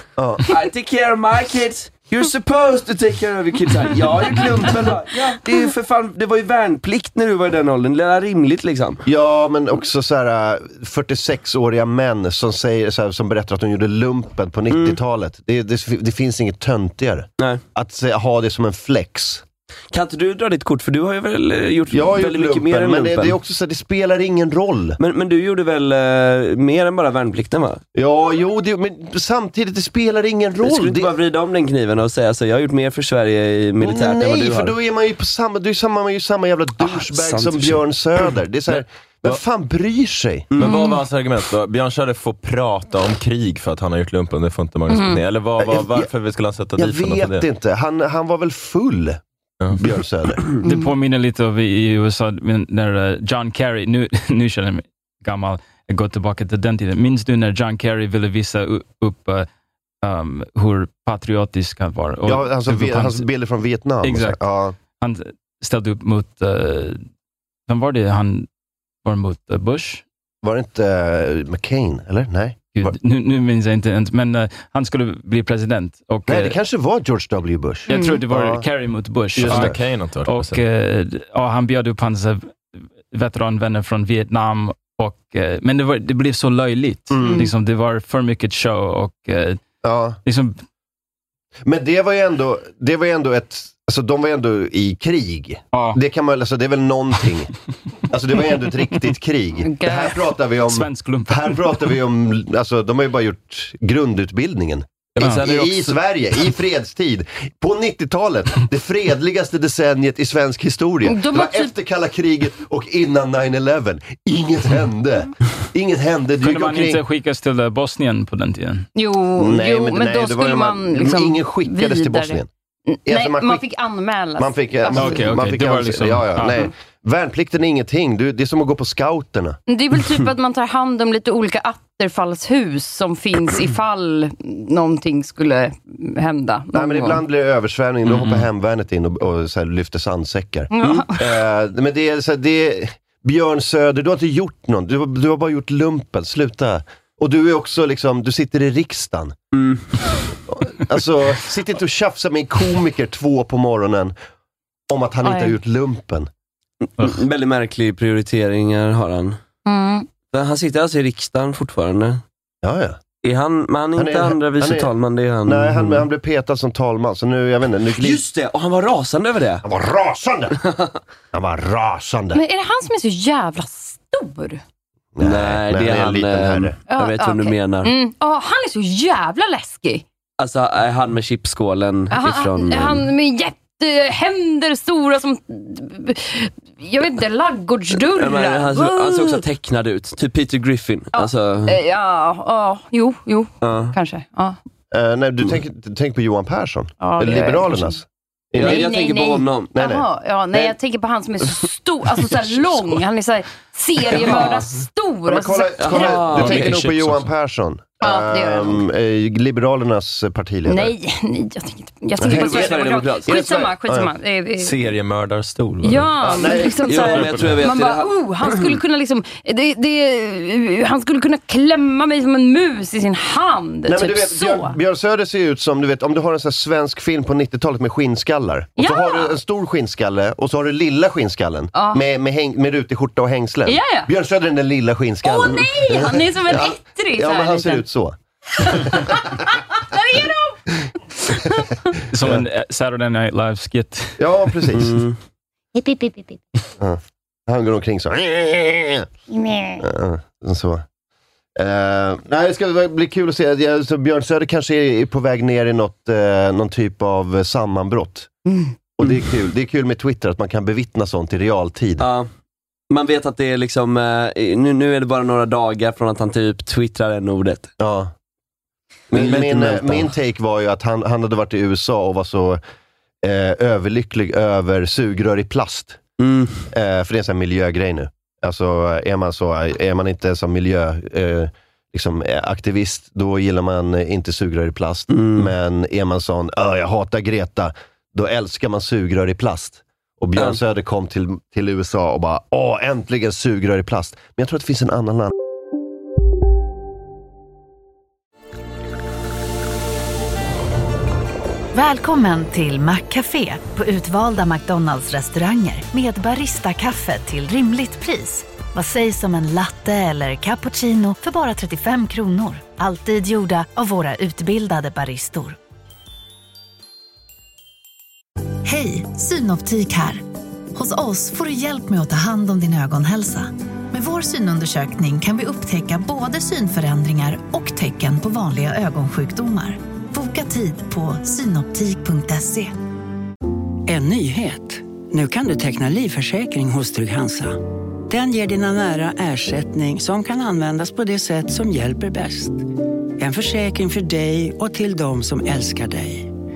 I take care of my kids. You're supposed to take care of your kids. Här, Jag har gjort lumpen va? Ja, det, är ju för fan, det var ju värnplikt när du var i den åldern. Det är rimligt liksom. Ja, men också så här äh, 46-åriga män som, säger, så här, som berättar att de gjorde lumpen på 90-talet. Det, det, det finns inget töntigare. Nej. Att se, ha det som en flex. Kan inte du dra ditt kort? För du har ju väl eh, gjort Jag har gjort väldigt mycket lumpen, mer men än det, lumpen. det är också så här, det spelar ingen roll. men, men du gjorde väl eh, mer än bara värnplikten va? Ja, jo, det, men samtidigt, det spelar ingen roll. Du skulle inte Det- bara vrida om den kniven och säga så jag har gjort mer för Sverige i militärt än vad Nej, du har? för då är man ju på samma, du är samma, man är ju samma jävla douchebag sant som i och för Björn Söder. Det är så här, vem Ja. fan bryr sig? Men vad var hans argument då? Björn Söder får prata om krig för att han har gjort lumpen, det får inte Magnus Betnér. Eller vad, Mm. Jag- vad, varför skulle han sätta Jag dit honom för vet det? inte. Han, han var väl full, Ja. Björn Söder? Det påminner lite om i USA, men när eh, John Kerry, nu, nu känner jag mig gammal, jag går tillbaka till den tiden. Minns du när John Kerry ville visa u- upp eh, um, hur patriotisk han var? Och Ja, alltså, det var vi, hans- hans bilder från Vietnam. och så här. Exakt. Ja. han ställde upp mot, eh, vem var det han var mot? Eh, Bush? Var det inte eh, McCain, eller? Nej. Var- Gud, nu, nu minns jag inte ens, men eh, han skulle bli president. Och, Nej, det eh, kanske var George W. Bush. Jag tror det var Ja. Kerry mot Bush. Just Ja. det. Kane har inte varit Och president. eh, ja, han bjöd upp hans eh, veteranvänner från Vietnam. Och, eh, men det, var, det blev så löjligt. Mm. Liksom, det var för mycket show. Och, eh, Ja. liksom, Men det var ju ändå, det var ju ändå ett... Alltså, de var ju ändå i krig. ja, Det, kan man, alltså, det är väl någonting. Alltså, det var ju ändå ett riktigt krig. Det här pratar vi om... svensk lump. Här pratar vi om, alltså de har ju bara gjort grundutbildningen. Ja. I, I Sverige, i fredstid. På 90-talet, det fredligaste decenniet i svensk historia. De Det har var typ- efter kalla kriget och innan 9-11. Inget hände. Inget hände. Du gick Kunde man omkring... inte skickas till eh, Bosnien på den tiden? Jo, Nej, jo men- men, nej, det då var ju skulle man- man, men liksom ingen skickades till vidare. Bosnien. N- Alltså, Nej, man man, skick- fick anmälas. Man fick... Alltså, Man, Okej, okej, man fick det var ans- liksom- ja, ja, ja. nej. Värnplikten är ingenting. Du, det är som att gå på scouterna. Men Det är väl typ att man tar hand om lite olika atterfallshus som finns ifall någonting skulle hända. Nej, men ibland blir det översvämning, då hoppar hemvärnet in och, och så här, lyfter sandsäckar. Mm. Eh, men det är, så här, det är, Björn Söder, du har inte gjort någon. Du, har- du har bara gjort lumpen. Sluta. Och du är också liksom, du sitter i riksdagen. Mm. Alltså, sitt inte och tjafsa med en komiker två på morgonen om att han inte Nej. har gjort lumpen. Mm, Väldigt märklig prioriteringar har han. Mm. Men han sitter alltså i riksdagen fortfarande. Ja, ja. Är han, men han är Han inte är- andra vice han är- talman, det är han. Mm. Mm. Nej, han, han blev petad som talman, så nu, jag vet inte. Nu glid... Just det, och han var rasande över det. Han var rasande! Han var rasande. Men är det han som är så jävla stor? Nej, det är han. eh, jag vet Ja, vem du okej. menar. Mm. Ja, han är så jävla läskig. Alltså eh, han med chipskålen Han, ifrån... eh, han med jättehänder stora som, jag vet inte, ja, men han, ladugårdsdörrar. såg- han såg också tecknad ut, typ Peter Griffin. Alltså, Eh, Ja, ja, jo, jo, ja. kanske. Ja. Eh, nej, du tänker tänk, på Johan Persson. Ja, det- Liberalernas. Jag, Nej, jag nej, tänker nej. på honom. Nej, nej. Jaha, ja, nej, Nej. jag tänker på han som är så stor, alltså så här lång. Han är så här seriemördar-stor. Ja, men Alltså, kolla, så här kolla, Ja, du tänker mycket nog på chips Johan också. Persson. Ja, det gör jag Ehm, eh, Liberalernas partiledare. Nej, nej, jag tänker inte jag tänker på Helvete, Sverigedemokrat. Sverigedemokrat. Skitsamma, skitsamma. Eh, eh, Seriemördarstol. var det. Ja, men nej. liksom Jo, så här, men jag tror jag vet man det. bara, oh, han skulle kunna liksom, det, det, han skulle kunna klämma mig som en mus i sin hand. Nej, men typ du vet, så. Björn, Björn Söder ser ju ut som, du vet, om du har en sån här svensk film på 90-talet med skinnskallar. Och så Ja! har du en stor skinnskalle och så har du lilla skinnskallen. Med, med, häng, med rutig skjorta och hängslen. Ja, ja. Björn Söder är den där lilla skinnskallen. Åh nej, han är som en ettrig. Ja, så här, men han ser liten. ut så. Där är de! Som en eh, Saturday Night Live-skit. Ja, precis. "Oh." Mm. Hipp, hipp, hipp, hipp, hipp. Han går omkring så. Eh, så. Eh, nej, det ska bli kul att se. Ja, så Björn Söder kanske är på väg ner i något, eh, någon typ av sammanbrott. Och det är kul. Det är kul med Twitter, att man kan bevittna sånt i realtid. Ja. Man vet att det är liksom, eh, nu, nu är det bara några dagar från att han typ twittrar en ordet. Ja. Det är Min, lite min, meltdown. min take var ju att han, han hade varit i USA och var så eh, överlycklig över sugrör i plast. Mm. Eh, för det är en sån här miljögrej nu. Alltså är man, så, är man inte som miljö... Eh, Liksom eh, aktivist, då gillar man eh, inte sugrör i plast. Mm. Men är man sån, "Åh, jag hatar Greta, då älskar man sugrör i plast. Och Björn Ja. Söder kom till, till USA och bara, åh, äntligen sugrör i plast. Men jag tror att det finns en annan land. Välkommen till Maccafé på utvalda McDonalds restauranger med Baristakaffe till rimligt pris. Vad sägs om en latte eller cappuccino för bara 35 kronor? Alltid gjorda av våra utbildade baristor. Hej, Synoptik här. Hos oss får du hjälp med att ta hand om din ögonhälsa. Med vår synundersökning kan vi upptäcka både synförändringar och tecken på vanliga ögonsjukdomar. Boka tid på synoptik.se. En nyhet. Nu kan du teckna livförsäkring hos Trygg-Hansa. Den ger dina nära ersättning som kan användas på det sätt som hjälper bäst. En försäkring för dig och till de som älskar dig.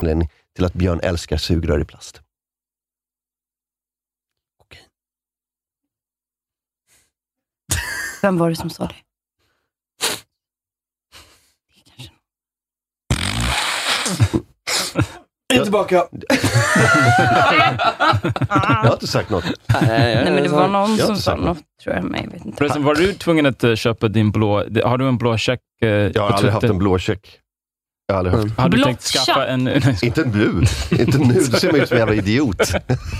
anledning till att Björn älskar sugrör i plast. Vem var det som sa det? Eh, Det kanske- Jag är tillbaka. Jag har inte sagt något. Nej, men det var någon Jag har som inte sa sagt något. något, tror jag. Men jag vet inte. Förresten, var du tvungen att eh, köpa din blå... det- Har du en blå check? eh, Jag har på aldrig haft Twitter? en blå check. Jag har aldrig haft. Har du Blå tänkt skaffa check. en... Nej, Inte nu. Inte nu. Du ser mig ut som en jävla idiot.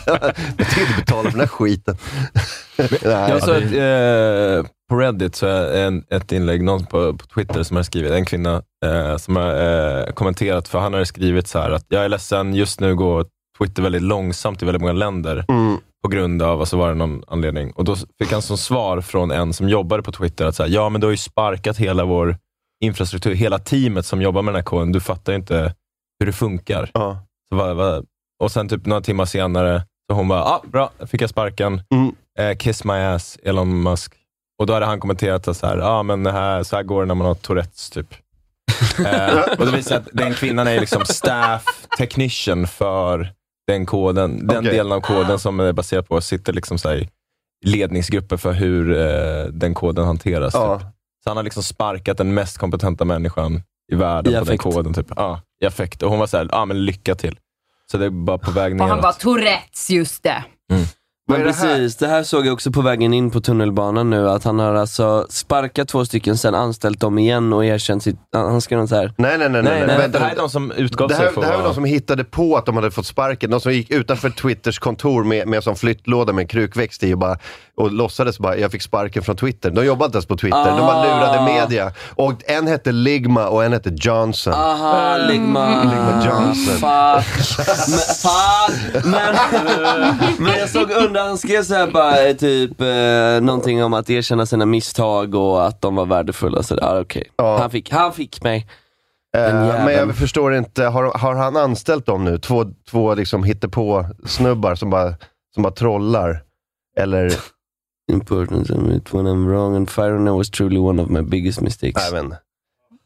Jag tänker inte betala för den här skiten. Nej. Jag såg ett, eh, på Reddit så är en, ett inlägg, någon på, på Twitter som har skrivit, en kvinna eh, som har eh, kommenterat, för han har skrivit så här att jag är ledsen, just nu går Twitter väldigt långsamt i väldigt många länder. Mm. på grund av, alltså var det någon anledning. Och Då fick han som svar från en som jobbade på Twitter att så här, ja men du har ju sparkat hela vår infrastruktur, hela teamet som jobbar med den här koden. Du fattar ju inte hur det funkar. Så va, va. Och sen typ några timmar senare, så hon bara, ah, bra, fick jag sparken. Mm. Eh, kiss my ass, Elon Musk. Och då hade han kommenterat att så här, ah, men det här, så här går det när man har Tourettes typ. eh, och det visar att den kvinnan är liksom staff technician för den koden. Den Okej. delen av koden som är baserad på sitter liksom så här i ledningsgrupper för hur eh, den koden hanteras. Ja. Typ. Så han har liksom sparkat den mest kompetenta människan i världen I på den affekt. koden. Typ. Ja, I affekt. Och hon var så här, ah, men lycka till. Så det är bara på väg Och han bara, neråt. Tourettes, just det. Men precis, det här såg jag också på vägen in på tunnelbanan nu, att han har alltså sparkat två stycken, sen anställt dem igen och erkänt sitt... Han skrev något så här. Nej, nej, nej. nej, nej. Vänta Det här är lite. de som utgav det sig här, för det här var att de som hittade på att de hade fått sparken. De som gick utanför Twitters kontor med, med som flyttlåda med en krukväxt i och, bara, och låtsades bara, jag fick sparken från Twitter. De jobbade inte ens på Twitter, de bara Ah. lurade media. Och en hette Ligma och en hette Johnson. Ah. Aha, Ligma. Äh, Ligma Johnson. Fuck. Men, fuck. Men, men jag såg under, han skrev så här bara, eh, typ eh, någonting om att erkänna sina misstag och att de var värdefulla. Så där, ah, okej. han, fick, han fick mig. Den Eh, Men jäveln. jag förstår inte, har, har han anställt dem nu? Två, två liksom hittepå-snubbar som bara, som bara trollar? Eller? Importance of it when I'm wrong and firing was truly one of my biggest mistakes. Nej, men.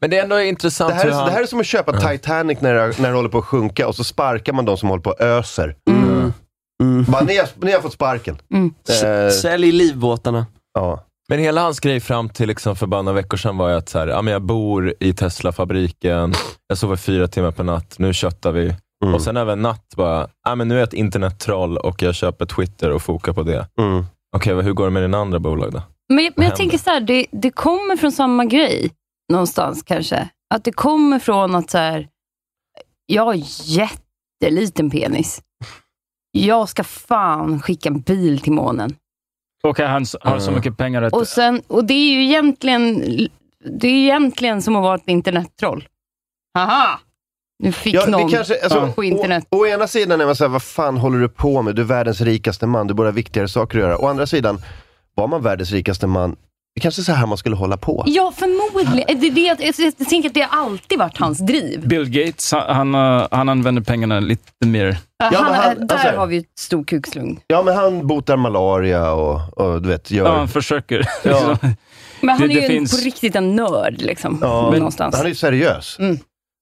Men det är ändå intressant Det här, är, hur han... det här är som att köpa Titanic när det, när det håller på att sjunka och så sparkar man de som håller på att öser. Bara, ni, har, ni har fått sparken. Mm. Mm. Eh. Mm. S- Sälj livbåtarna. Ja. Men hela hans grej fram till liksom för bara några veckor sedan var ju att så här, ja, men jag bor i Tesla-fabriken, jag sover fyra timmar per natt, nu köttar vi. mm. Och sen över en natt bara, ja, men nu är jag ett internettroll och jag köper Twitter och fokar på det. Mm. Okej, vad- hur går det med dina andra bolag då? Men, men händer? jag tänker så här, det, det kommer från samma grej någonstans kanske. Att det kommer från att så här, jag har jätteliten penis. Jag ska fan skicka en bil till månen. Och han s- har Mm. så mycket pengar att... Och, sen, och det är ju egentligen, det är ju egentligen som att vara ett internettroll. Haha! Nu fick Ja, någon det kanske, alltså, på internet. Å, å ena sidan är man såhär, vad fan håller du på med? Du är världens rikaste man, du borde ha viktigare saker att göra. Å andra sidan, var man världens rikaste man, det kanske är så här man skulle hålla på. Ja, förmodligen. Det, är det, jag, jag, jag tänker att det har alltid varit hans driv. Bill Gates, han, han, eh, han använder pengarna lite mer. men han, han- där alltså- har vi ju ett stor kukslugn. Ja, men han botar malaria och, och du vet, gör... Ja, han försöker. Ja. Men han Det- är det ju en, finns- på riktigt en nörd liksom. Ja, men någonstans. Mm. han är ju seriös.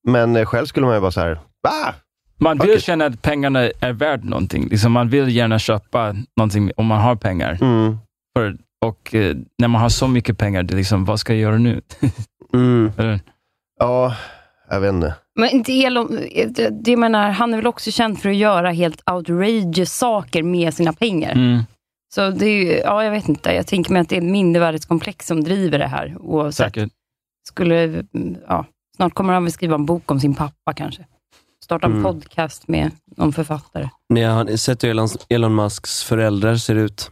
Men eh, själv skulle man ju vara så här, va? Man vill känna att pengarna är värd någonting. Liksom man vill gärna köpa någonting om man har pengar. Mm. För, och eh, när man har så mycket pengar, det är liksom, vad ska jag göra nu? Mm. Eller- Ja, jag vet inte. Men inte Elon, det, det jag menar, han är väl också känd för att göra helt outrageous saker med sina pengar. Mm. Så det är ju, ja jag vet inte, jag tänker mig att det är ett mindervärdeskomplex som driver det här. Oavsett. Säkert. Skulle, mm, ja, snart kommer han väl skriva en bok om sin pappa kanske. Starta en Mm. podcast med någon författare. Ni har sett hur Elon, Elon Musks föräldrar ser ut.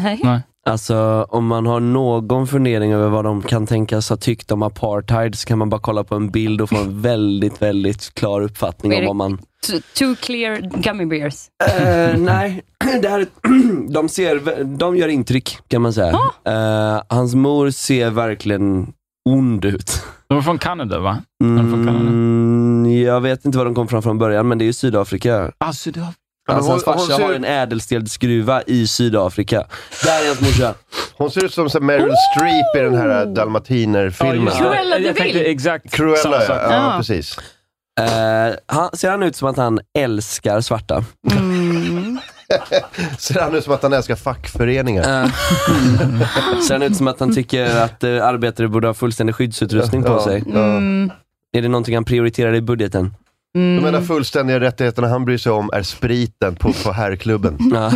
Nej. Nej. Alltså om man har någon fundering över vad de kan tänkas ha tyckt om apartheid så kan man bara kolla på en bild och få en väldigt, väldigt klar uppfattning om vad man... T- Two clear gummy bears. Eh, nej, det här, är- de, ser, vä- de gör intryck kan man säga. Ah! Eh, hans mor ser verkligen ond ut. De var från Kanada, va? De är från Kanada. Mm, jag vet inte var de kom från från början men det är ju Sydafrika. Ah, Sydafrika. Alltså, hans hon- hon farsa ser- har en ädelstensgruva i Sydafrika. Där är hans morsa. Hon ser ut som så här Meryl Streep i den här dalmatiner-filmen. just det. Cruella de jag tänkte Vil. exakt samma Cruella, sak. ja. ja Ja. precis. Eh, han, ser han ut som att han älskar svarta? Mm, Ser han ut som att han älskar fackföreningar? Eh, ser han ut som att han tycker att eh, arbetare borde ha fullständig skyddsutrustning på Ja, sig? ja. Mm. mm, Är det någonting han prioriterar i budgeten? De enda fullständiga rättigheterna han bryr sig om är spriten på, på herrklubben. Ja.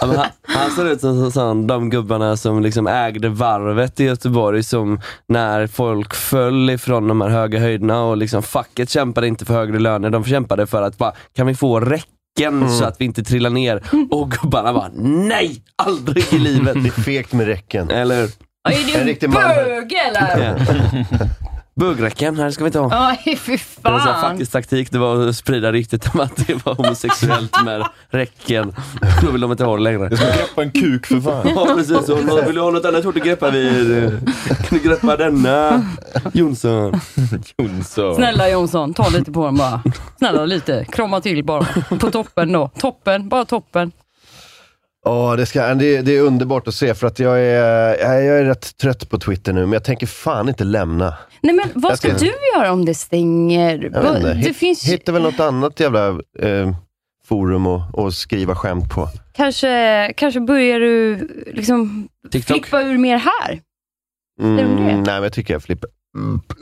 ja, men han, han ser ut som, som, som de gubbarna som liksom ägde varvet i Göteborg som när folk föll ifrån de här höga höjderna och liksom facket kämpade inte för högre löner, de kämpade för att bara, kan vi få räcken så att vi inte trillar ner? Och gubbarna bara, nej! Aldrig i livet! Det är fegt med räcken. Eller hur? Är En du riktig en man. bög eller? Bugräcken, här ska vi ta. Aj, fy Det var så här fan. faktiskt taktik, det var att sprida ryktet om att det var homosexuellt med räcken. Då vill de inte ha det längre. Jag ska greppa en kuk för fan. Ja precis, och någon vill du ha något annat hårt att greppa vid? Kan du greppa denna? Jonsson. Jonsson. Snälla Jonsson, ta lite på den bara. Snälla lite, krama till bara. På toppen då. Toppen, bara toppen. Ja, det, ska, det, är- det är underbart att se för att jag är, jag jag är rätt trött på Twitter nu, men jag tänker fan inte lämna. Nej men vad Jag ska ska- du göra om det stänger? Vad- Jag vet inte. Det Hitt, finns ju Hittar väl något annat jävla eh, forum och, och skriva skämt på. kanske, kanske börjar du liksom flippa ur mer här. Mm, nej, men jag tycker jag flippar,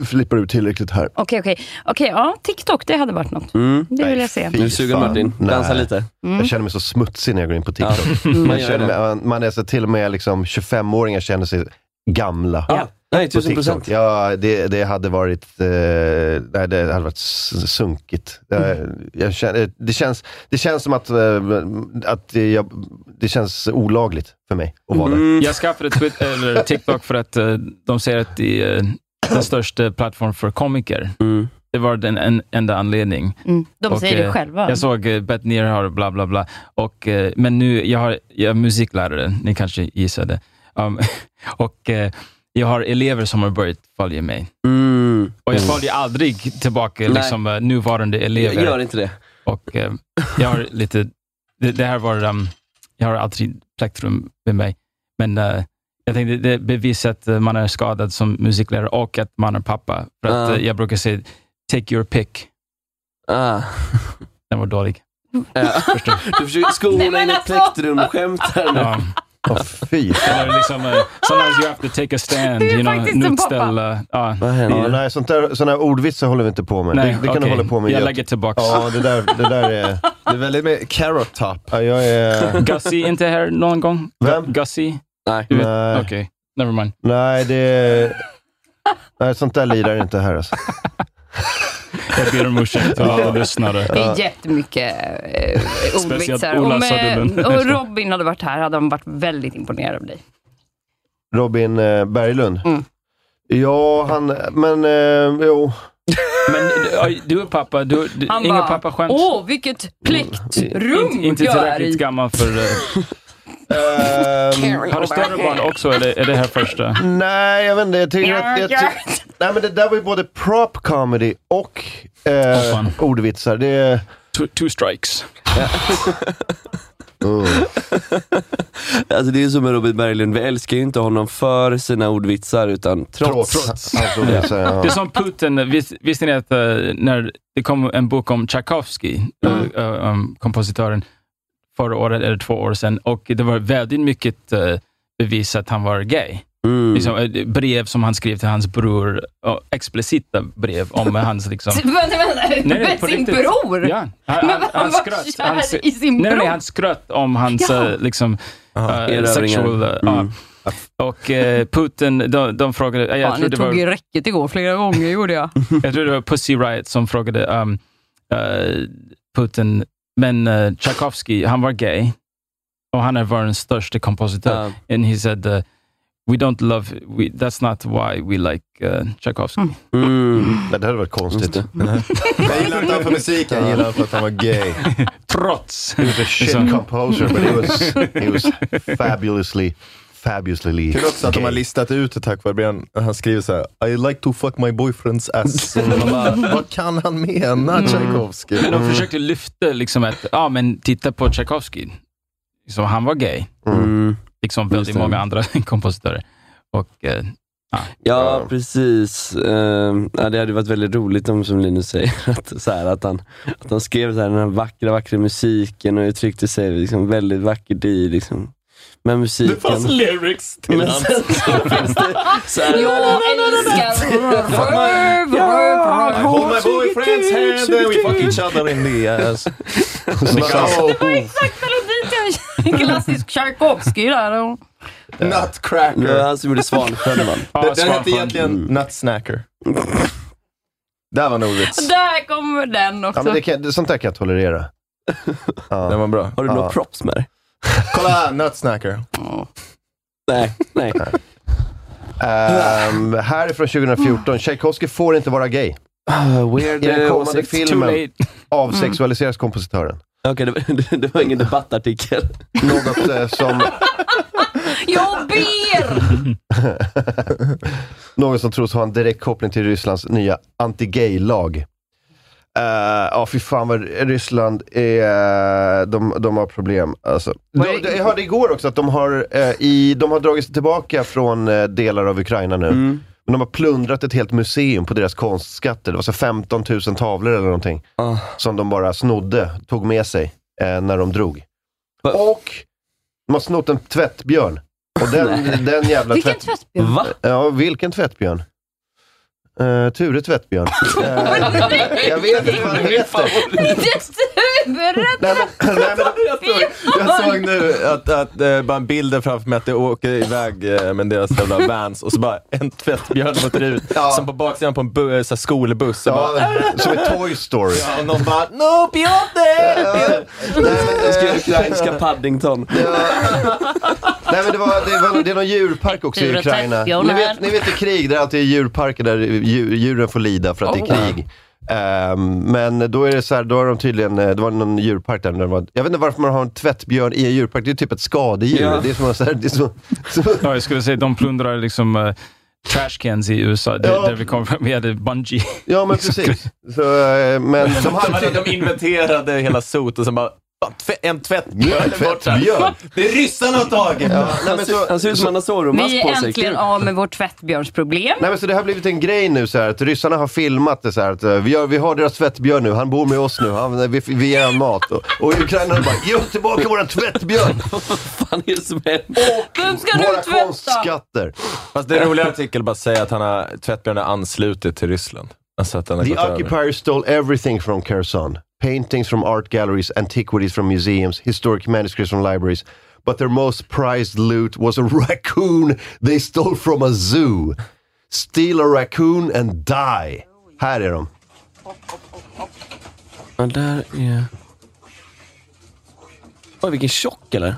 flippar ut tillräckligt här. Okej, okej. Okej, ja, TikTok, det hade varit något. Mm. Det vill jag se. Fy suger fan, Martin. nej. Dansa lite. Mm. Jag känner mig så smutsig när jag går in på TikTok. man Man, gör känner mig, det. man, man är så till och med liksom 25-åringar känner sig gamla. Ja. Nej, på 1000 TikTok. procent. Ja, det, det hade varit eh, nej, det hade varit s- sunkigt. Jag, Mm. jag känner, det, känns, det känns som att, eh, att jag, det känns olagligt för mig att vara Mm. där. Jag skaffade Twitter, eller TikTok för att eh, de säger att det är eh, den största plattformen för komiker. Mm. Det var den en, enda anledningen. Mm. De Och, säger det eh, själva. Jag såg eh, Bett Neer har bla bla bla. Och, eh, men nu, jag, har, jag är musiklärare, ni kanske gissade. Um, och eh, jag har elever som har börjat följa mig. Mm. Och jag följer aldrig tillbaka Nej. liksom, eh, nuvarande elever. Gör inte det. Och eh, jag har lite, det, det här var, um, jag har alltid plektrum med mig, men eh, jag tänkte det bevisar att eh, man är skadad som musiklärare och att man är pappa. För att Ja. eh, jag brukar säga, take your pick. Ah. Den var dålig. Du försöker skona in ett alltså. plektrumskämt här nu. Ja. Åh, fy. Eller liksom, eh, sometimes you have to take a stand, you know, faktiskt en pappa. motställa. Ja. Vad Ja, händer? nej, sånt där, sådana här ordvitsar håller vi inte på med. det, det kan okej. du hålla på med. Jag Göte. lägger tillbaka. Ja, det där, det där är... Det är väldigt med carrot top. Ja, jag är... Gussie inte här någon gång? Vem? Gussie? Nej. Du vet- Nej. Okej, never mind. Nej, det... Nej, sånt där lirar inte här alltså. Jag ber om ursäkt till alla lyssnare. Det är jättemycket eh, Speciellt ordvitsar. Ola Om, Söderlund. eh, om Robin hade varit här hade han varit väldigt imponerad av dig. Robin eh, Berglund. Mm. Ja, han... Men eh, jo. Men eh, du, du är pappa, du, du, Han inga bara, pappaskämt. Åh, vilket plektrum Inte- Inte jag är tillräckligt i. gammal för... eh, Ehm, har du större barn också, eller är det här första? Nej, jag vet inte. Jag tycker att... Jag ty- nej, men det där var ju både prop comedy och Åh, eh, fan. ordvitsar. Det... Two, two strikes. Oh. Alltså det är ju som med Robin Berglund, vi älskar ju inte honom för sina ordvitsar utan trots. Trots. Hans ordvitsar, ja. Det är som Putin, vis, visste ni att eh, när det kom en bok om Tchaikovsky, Mm. eh, eh, om kompositören, förra året eller två år sedan, och det var väldigt mycket eh, bevis att han var gay. Mm. Liksom, eh, brev som han skrev till hans bror, ja, explicita brev om hans... Liksom, Vänta, Nej, nej, vänta. på Sin riktigt. bror? Ja, han, Men han, han, han var skröt. kär Han, i sin Nej, bror. nej, han skröt om hans Ja. eh, liksom, Aha, eh, erövringar. sexual... eh, ja. Mm. Och eh, Putin, de, de frågade... eh, Jag Fan, tror, jag det tog var, i räcket igår flera gånger, gjorde jag. jag tror det var Pussy Riot som frågade um, eh, Putin, men uh, Tchaikovsky, han var gay och han är världens största kompositör. Ja. And he said, uh, we don't love, we, that's not why we like uh, Tchaikovsky. Mm. Nej, det hade varit konstigt. Jag gillar inte han för musiken, jag gillar han för att han var gay. Trots! He was a shit Liksom. composer, but he was, he was fabulously, fabulously Kul också att de har gay. listat ut det tack vare Brian. Han skriver så här: I like to fuck my boyfriend's ass. Man bara, Vad kan han mena Tchaikovsky? Mm. Men de försökte lyfta liksom att, ja men titta på Tchaikovsky. Liksom, han var gay, Mm. liksom väldigt Just det. många andra kompositörer. Och, eh, Ja, precis. Ehm, ja, det hade varit väldigt roligt om, som Linus säger, att, så här, att, han, att han skrev så här, den här vackra, vackra musiken och uttryckte sig liksom, väldigt vackert i liksom, med musiken. lyrics Men sen så finns det så här, Jag älskar Ja. Hold my boyfriend's hand and we fuck each other in the ass. Alltså, En klassisk Tchaikovsky där. och- det var Nutcracker. han som gjorde Svansjön va? ja, Den, den Svansjön. hette egentligen Nutsnacker. Där var en ordvits. Där kommer den Ja, också. men det kan, det- sånt där kan jag tolerera. Den Ja. var bra. Har du några Ja. props med dig? Kolla, Nutsnacker. Nej, nej. Ehm, här är från 2014. Tchaikovsky får inte vara gay. weird, I den eh, kommande åsikt. Too late. filmen avsexualiseras kompositören. Okej, det, var- det var ingen debattartikel. Något eh, som Jag ber! Någon som tros ha en direkt koppling till Rysslands nya anti-gay-lag. Eh, Ja, fy fan vad Ryssland är... eh, De, de har problem alltså. De, de, jag hörde igår också att de har, eh, i, de har dragit sig tillbaka från eh, delar av Ukraina nu. Men de har plundrat ett helt museum på deras konstskatter. Det var så 15 000 tavlor eller någonting. Som de bara snodde, tog med sig eh, när de drog. Och de har snott en tvättbjörn. Och den, den jävla Vilken tvättbjörn? Va? Ja, vilken tvättbjörn? Uh, Ture Tvättbjörn. Jag vet inte vad han heter. Berätta! Jag såg nu att, att eh, bara bilden framför mig att det åker iväg eh, med deras jävla vans och så bara en tvättbjörn som åker ut. Som på baksidan på en bu- eh, så här skolbuss. och bara, som i Toy Story. Eh, Ja, och någon bara, No, Piotr! Jag ska göra ukrainska Paddington. Nej men det, var, det, var, det är någon djurpark också i Ture Ukraina. Tvättbjörn Ni här. vet, ni vet i krig, där det alltid är djurparker där djur, djuren får lida för att det är krig. Ehm, men då är det så här, då har de tydligen, eh, det var någon djurpark där, där det var, jag vet inte varför man har en tvättbjörn i en djurpark, det är typ ett skadedjur. Ja. Det är som, så här, det är som Ja, jag skulle säga de plundrar liksom uh, trashcans i USA, där, Ja. där vi kom från. Vi hade bungee. Ja, men precis. Så, eh, men som han de inventerade hela sot och sen bara, "Fan, tv- en tvättbjörn är borta. tvättbjörn. Det är ryssarna har tagit. han ser ut som han har Vi är äntligen av med vårt tvättbjörnsproblem. Nej, men så det har blivit en grej nu, så här, att ryssarna har filmat det så här, att eh, vi, gör, vi har deras tvättbjörn nu, han bor med oss nu, han, vi, vi ger honom mat. Och, och ukrainarna bara, ge oss tillbaka våran tvättbjörn! Fan är det som händer? Vem ska Våra konstskatter! Fast det är en rolig artikel bara säga att han har, tvättbjörnen har anslutit till Ryssland. Alltså att han har The gått över. occupiers stole everything from Kherson. Paintings from art galleries, antiquities from museums, historic manuscripts from libraries. But their most prized loot was a raccoon they stole from a zoo. Steal a raccoon and die. Här är de. Ja, där är... Oj, vilken tjock eller?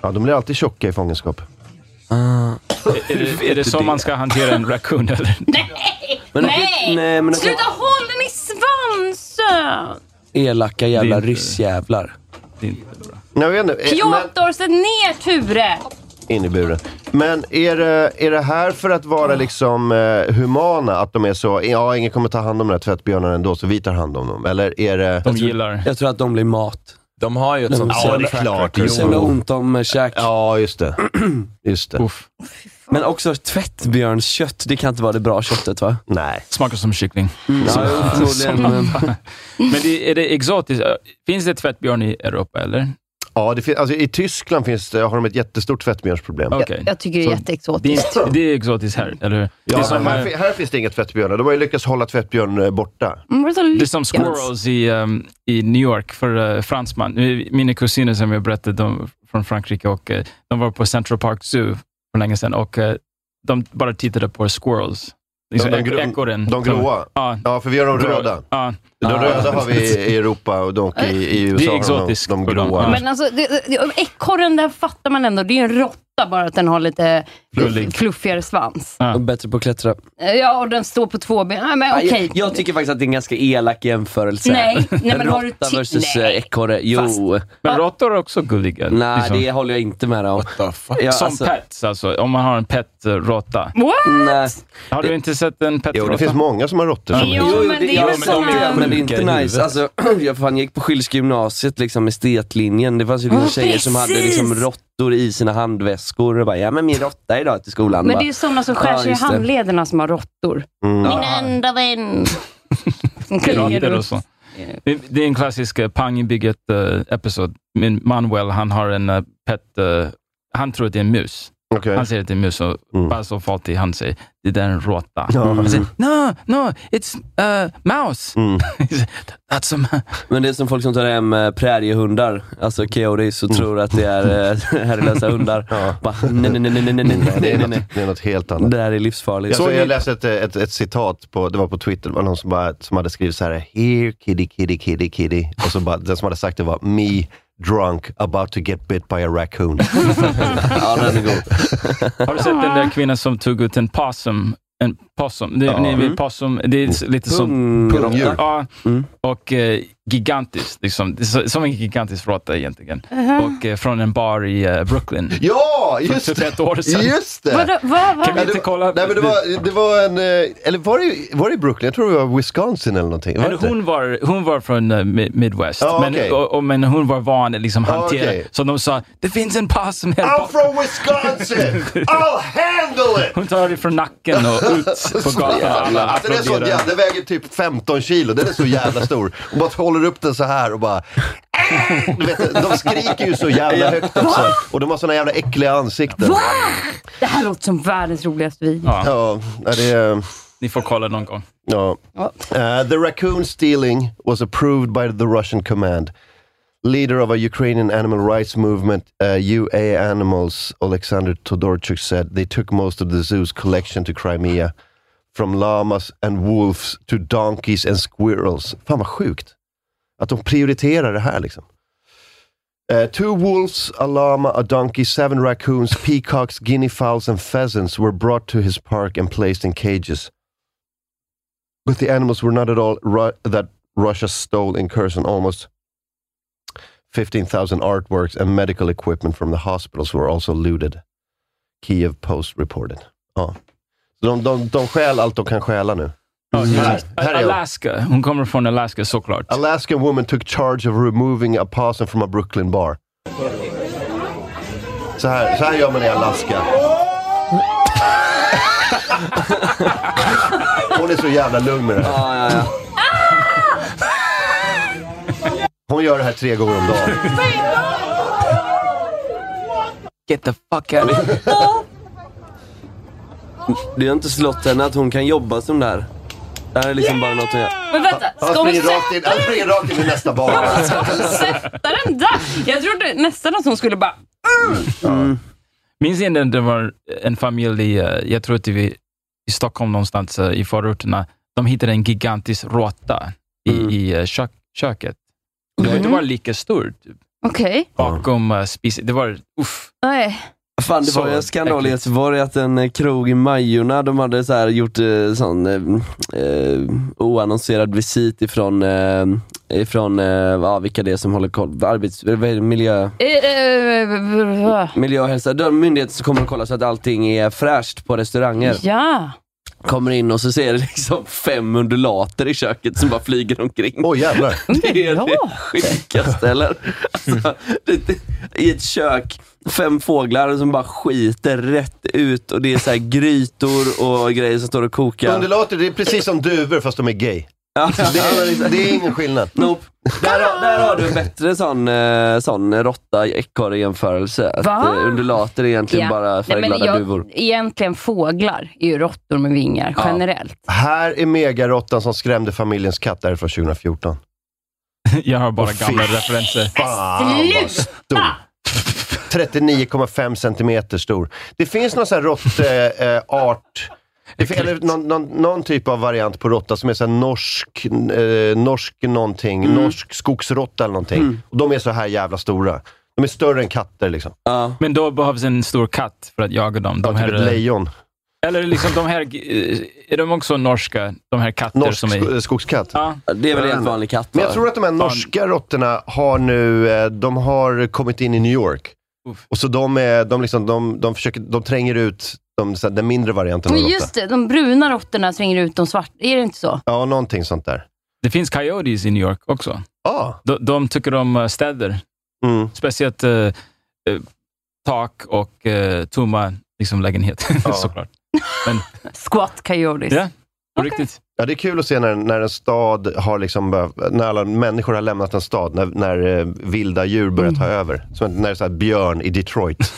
Ja, de blir alltid tjocka i fångenskap. Är det, är det så man ska hantera en raccoon? Eller? Nej! Men- nej! nej, men- alltså- Sluta hålla den i svansen! Elaka jävla ryssjävlar. Jag vet inte. eh, men- Piotr, sätt ner Ture! in i buren. Men är det, är det här för att Ah. vara liksom eh, humana? Att de är så, ja ingen kommer ta hand om den här tvättbjörnen ändå, så vi tar hand om dem. Eller är det... De gillar. Jag tror att de blir mat. De har ju ett sånt Ja, det är track klart. record. Det är så jävla ont om eh, käk. Ja, just det. Just det. Men också tvättbjörnskött, det kan inte vara det bra köttet va? Nej. Smakar som kyckling. Mm. Ja, Så- jo, förmodligen. som- men- Men det, är det exotiskt? Finns det tvättbjörn i Europa, eller? Ja, det fin- alltså, i Tyskland finns det, har de ett jättestort tvättbjörnsproblem. Okej. Jag tycker det är Så Det jätteexotiskt. är, det är exotiskt här, eller hur? Ja, det, är som, här, eh, fi- här finns det inga tvättbjörnar. De har ju lyckats hålla tvättbjörnen eh, borta. Mm, vad så det är som lyckas. squirrels i, ehm, i New York för eh, fransman. Nu, Mina kusiner som jag berättade de, från Frankrike, och, eh, de var på Central Park Zoo för länge sedan och eh, de bara tittade på squirrels. Liksom de, gro- ekorren. de gråa. Ja. Ja, för vi har de Grå- röda. Ja. De röda har vi i Europa och de, i, i USA har de- exotiskt de för dem. gråa. Ja. Men alltså, det- det- ekorren, där fattar man ändå. Det är ju en råtta, bara att den har lite Flullig. fluffigare svans. Eh, De är eh, bättre på att klättra. Ja, och den står på två ben. Nej, men Nej, okej. jag, jag tycker faktiskt att det är en ganska elak jämförelse. Nej, nej, men har du Råtta ti- versus nej. eh, ekorre. Jo. Men råttor är också gulliga. Nej, liksom. det håller jag inte med dig om. Ja, som alltså- pets, alltså. Om man har en pet-råtta. What? Nej. Har du inte sett en Jo, pet-råtta? det finns många som har råttor. som Jo, är- men det är väl såna... Men det är inte nice. Alltså, jag, fan, jag gick på Schills gymnasiet, liksom estetlinjen. Det fanns ju liksom Ja, tjejer som hade precis. liksom råttor i sina handväskor och bara, ja men min råtta idag till skolan. Men Bara, det är ju sådana som skär Ja, sig i just det. handlederna som har råttor. Mm. Min enda vän. Som kliar Pirater runt. och så. Det det är en klassisk eh, pang i bygget eh, episod. Min Manuel, han har en eh, pet... eh, han tror att det är en mus. Okej. Han säger att det är en mus och Mm. bara så fattig han säger, det där är en råtta. Ja. Han säger, no, no, it's uh, mouse. Alltså, Mm. That's a ma- Men det är som folk som tar hem eh, präriehundar, alltså coyotes, och tror att det är eh, herrelösa hundar. Bara, nej, nej, nej, nej, nej, nej, Det, är nej, nej, något, nej. det är något helt annat. Alltså, Det här är livsfarligt. Jag, såg, jag läste ett, ett, ett citat, på, det var på Twitter, det var någon som, bara, som hade skrivit så här Here kitty kitty kitty kitty. Och så bara, den som hade sagt det var Me drunk about to get bit by a raccoon. Ja, den är god. Har du sett den där kvinnan som tog ut en possum? En possum. Det, Ja. ni vet, Mm. possum, det är lite som Mm. Pung- pungdjur. Ja, och eh, gigantiskt. Liksom. Det är så- Som en gigantisk råtta egentligen. Mhm. Och eh, från en bar i eh, Brooklyn. Ja, För just det. 21 år sedan. Just det! Vadå, vad, vad? Kan vi Ja, det inte var- kolla? Nej, men det, var, det var en... eh, Eller var det, var det i Brooklyn? Jag tror det var Wisconsin eller någonting. Var Men det inte? hon, var, hon var från eh, mi- Midwest, Ja, men, okej. och, och, men hon var van att liksom hantera, okej. så de sa det finns en possum här I'm bak. from Wisconsin! I'll handle it! Hon tar det från nacken och ut på gatan. Alla alltså, den, är så, applåderar. jävla- den väger typ 15 kilo, den är så jävla stor. Hon bara håller upp den så här och bara... "Äh!" Du vet, de skriker ju så jävla högt också. Och de har såna jävla äckliga ansikten. Va? Det här låter som världens roligaste video. Ja, nej, det är... Ni får kolla någon gång. Ja. Uh, the raccoon stealing was approved by the Russian command. Leader of a Ukrainian animal rights movement, uh, UA Animals, Alexander Todorchuk said they took most of the zoo's collection to Crimea. From llamas and wolves to donkeys and squirrels. Fan vad sjukt. Att de prioriterar det här liksom. Uh, two wolves, a llama, a donkey, seven raccoons, peacocks, guinea fowls, and pheasants were brought to his park and placed in cages. But the animals were not at all ru- that Russia stole in Kherson. Almost 15,000 artworks and medical equipment from the hospitals were also looted. Kiev Post reported. Ja. Så de, de, de stjäl allt de kan stjäla nu. Här, här är jag. Alaska. Hon kommer från Alaska såklart. Alaskan woman took charge of removing a possum from a Brooklyn bar. Så här, så här gör man i Alaska. Hon är så jävla lugn med det här. Hon gör det här tre gånger om dagen. Get the fuck out of here. Du har inte slått henne att hon kan jobba som där. Det här är liksom bara något hon gör. Men vänta, Han ska hon springer sätta, rakt in, han springer rakt in i nästa bar. ska hon sätta den där? Jag trodde nästan att hon skulle bara... Minns ni när det var en familj, i, eh, jag tror att det var i Stockholm någonstans eh, i förorterna, de hittade en gigantisk råtta i, Mm. i eh, kök, köket. Det var, det var lika stor, typ, Okej. bakom eh, spisen. Det var, uff. Nej. Fan, det Så var ju en skandal i äckligt. Göteborg att en eh, krog i Majorna, de hade så här gjort eh, sån eh, eh, oannonserad visit ifrån, eh, ifrån eh, ja, vilka det är som håller koll, arbets, vad är det, miljö, Eh, miljö och hälsa. De myndigheter som kommer och kollar så att allting är fräscht på restauranger. Ja. Kommer in och så ser det liksom fem undulater i köket som bara flyger omkring. Åh jävlar. Det är det sjukaste eller? Alltså, det, det, I ett kök, fem fåglar som bara skiter rätt ut och det är så här grytor och grejer som står och kokar. Undulater, det är precis som duvor fast de är gay. Det är, det är ingen skillnad. Nope. Där, har- där har du en bättre sån, eh, sån råtta-ekorre-jämförelse. Att Va? eh, undulater är egentligen Ja. Nej, bara men färgglada duvor. jag, egentligen fåglar är ju råttor med vingar Ja. generellt. Här är megaråttan som skrämde familjens katt. Det här är från 2014. Jag har bara Åh, fy gamla referenser. Fan vad stor. 39,5 centimeter stor. Det finns någon sån här råttart. Eh, art. Det fin- eller någon, någon, någon typ av variant på råtta som är sån här norsk, eh, norsk någonting. Mm. Norsk skogsråtta eller någonting. Mm. Och de är så här jävla stora. De är större än katter liksom. Ja. Men då behövs en stor katt för att jaga dem. Ja, De typ här, ett eh, lejon. eller liksom de här, eh, är de också norska, de här katter Norsk som är... sko- skogskatt. Ja, Det är väl en helt vanlig katt? Men va? jag tror att de här norska råttorna har nu, eh, de har kommit in i New York. Uff. Och så de, är, de, liksom, de, de, försöker, de tränger ut de, så här, den mindre varianten av Men råtta. just det, de bruna råttorna svänger ut de svarta. Är det inte så? Ja, någonting sånt där. det finns coyotes i New York också. Ja. De, de tycker om eh, städer, Mm. speciellt eh, eh, tak och eh, tomma liksom, lägenheter, Ja. såklart. Squat coyotes. Ja, på riktigt. ja, det är kul att se när, när en stad har liksom, bör- när alla människor har lämnat en stad, när, när eh, vilda djur börjar Mm. ta över. Som när det är så här björn i Detroit.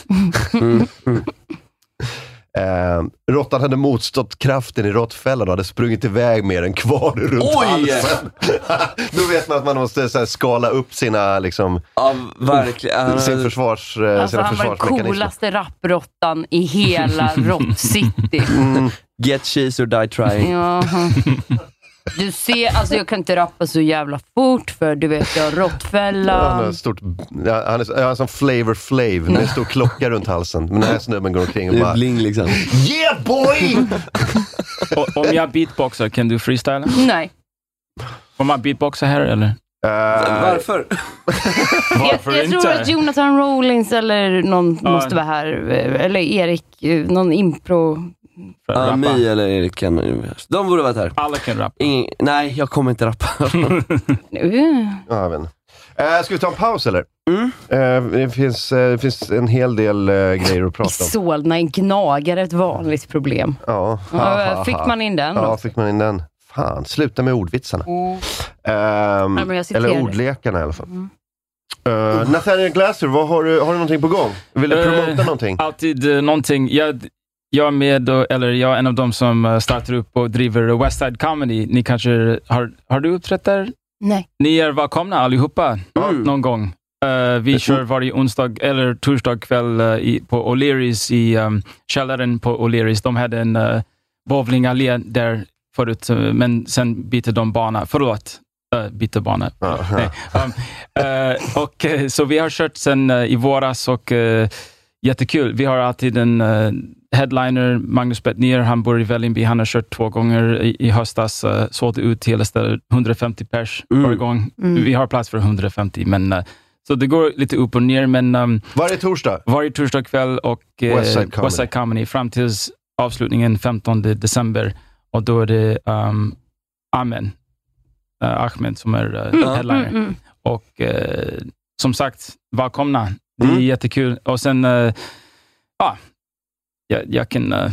Mm. Eh, råttan hade motstått kraften i råttfällan och hade sprungit iväg med den kvar runt Oj! halsen. Då vet man att man måste så här, skala upp sina, liksom, Ja, verkligen. sin försvars, eh, Alltså, sina han var den försvarsmekanismer. coolaste rappråttan i hela Rock City. Mm. Get cheese or die trying. Ja. Du ser, alltså jag kan inte rappa så jävla fort för du vet, jag har Han har råttfällan. ett stort... ja, Han är, han är som Flavor Flav med en stor klocka runt halsen. Men den här snubben går omkring och bara... Bling liksom. Yeah boy! O- Om jag beatboxar, kan du freestyla? Nej. Får man beatboxa här eller? Eh, Varför? Varför Jag tror att inte? Jonathan Rollins eller någon Ja. måste vara här. eh, Eller Erik, eh, någon impro. Ja, Rappa. My eller Erik kan ju- De borde varit här. Alla kan rappa. Ingen, nej, jag kommer inte rappa. Nu. Ja, jag vet inte. Eh, ska vi ta en paus eller? Mm. Eh, det, finns, eh, det finns en hel del eh, grejer att I prata om. Solna, en gnagare, ett vanligt problem. Ja, Ja, eh, fick man in den Ja, då? fick man in den. Fan, sluta med ordvitsarna. Ehm, Ja, men jag citerar Mm. eller dig. ordlekarna i alla fall. Eh, Nathaniel Glasser, vad har, du, har du någonting på gång? Vill du Eh, promota någonting? Alltid eh, någonting. Jag, jag är med, och, eller jag är en av de som eh, startar upp och driver West Side Comedy. Ni kanske, har, har du uppträtt där? Nej. Ni är välkomna allihopa någon gång. Eh, vi kör varje onsdag eller torsdag kväll eh, i, på O'Learys i um, källaren på O'Learys. De hade en uh, bowlingallé där förut, eh, men sen bytte de bana. Förlåt, uh, bytte bana. Nej. Um, eh, och, eh, så vi har kört sen eh, i våras och eh, jättekul. Vi har alltid en eh, headliner, Magnus Bettner, han bor i Vällingby. Han har kört två gånger i, i höstas. Uh, sålde ut hela stället, 150 pers varje gång. Mm. Vi har plats för 150, men eh, så det går lite upp och ner, men um, Varje torsdag? varje torsdag kväll och eh, West Side Comedy. West Side Comedy fram tills avslutningen 15 december. Och då är det um, Amen, eh, Ahmed som är eh, headliner. Mm, mm. Och eh, som sagt, välkomna. Det är Mm. jättekul. Och sen, eh, ja, jag, jag kan eh,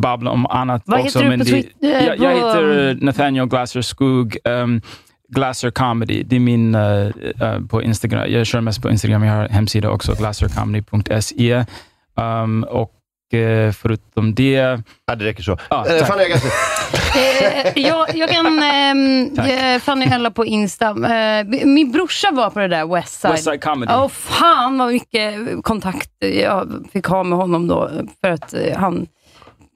babbla om annat Vad också. heter du men på det- Twitter? jag, jag På- heter eh, Nathaniel Glasser Skog. ehm, Glasser Comedy, det är min eh, eh, på Instagram. Jag kör mest på Instagram. Jag har hemsida också, glassercomedy.se. Ehm, och eh, förutom det... Ja, det räcker så. Ja, Eh, tack. Fanny Agassi, Eh, jag, jag kan... ehm, Tack. eh, Fanny Hölla på Insta. Eh, min brorsa var på det där Westside. West Side Comedy. Åh fan vad mycket kontakt jag fick ha med honom då, för att eh, han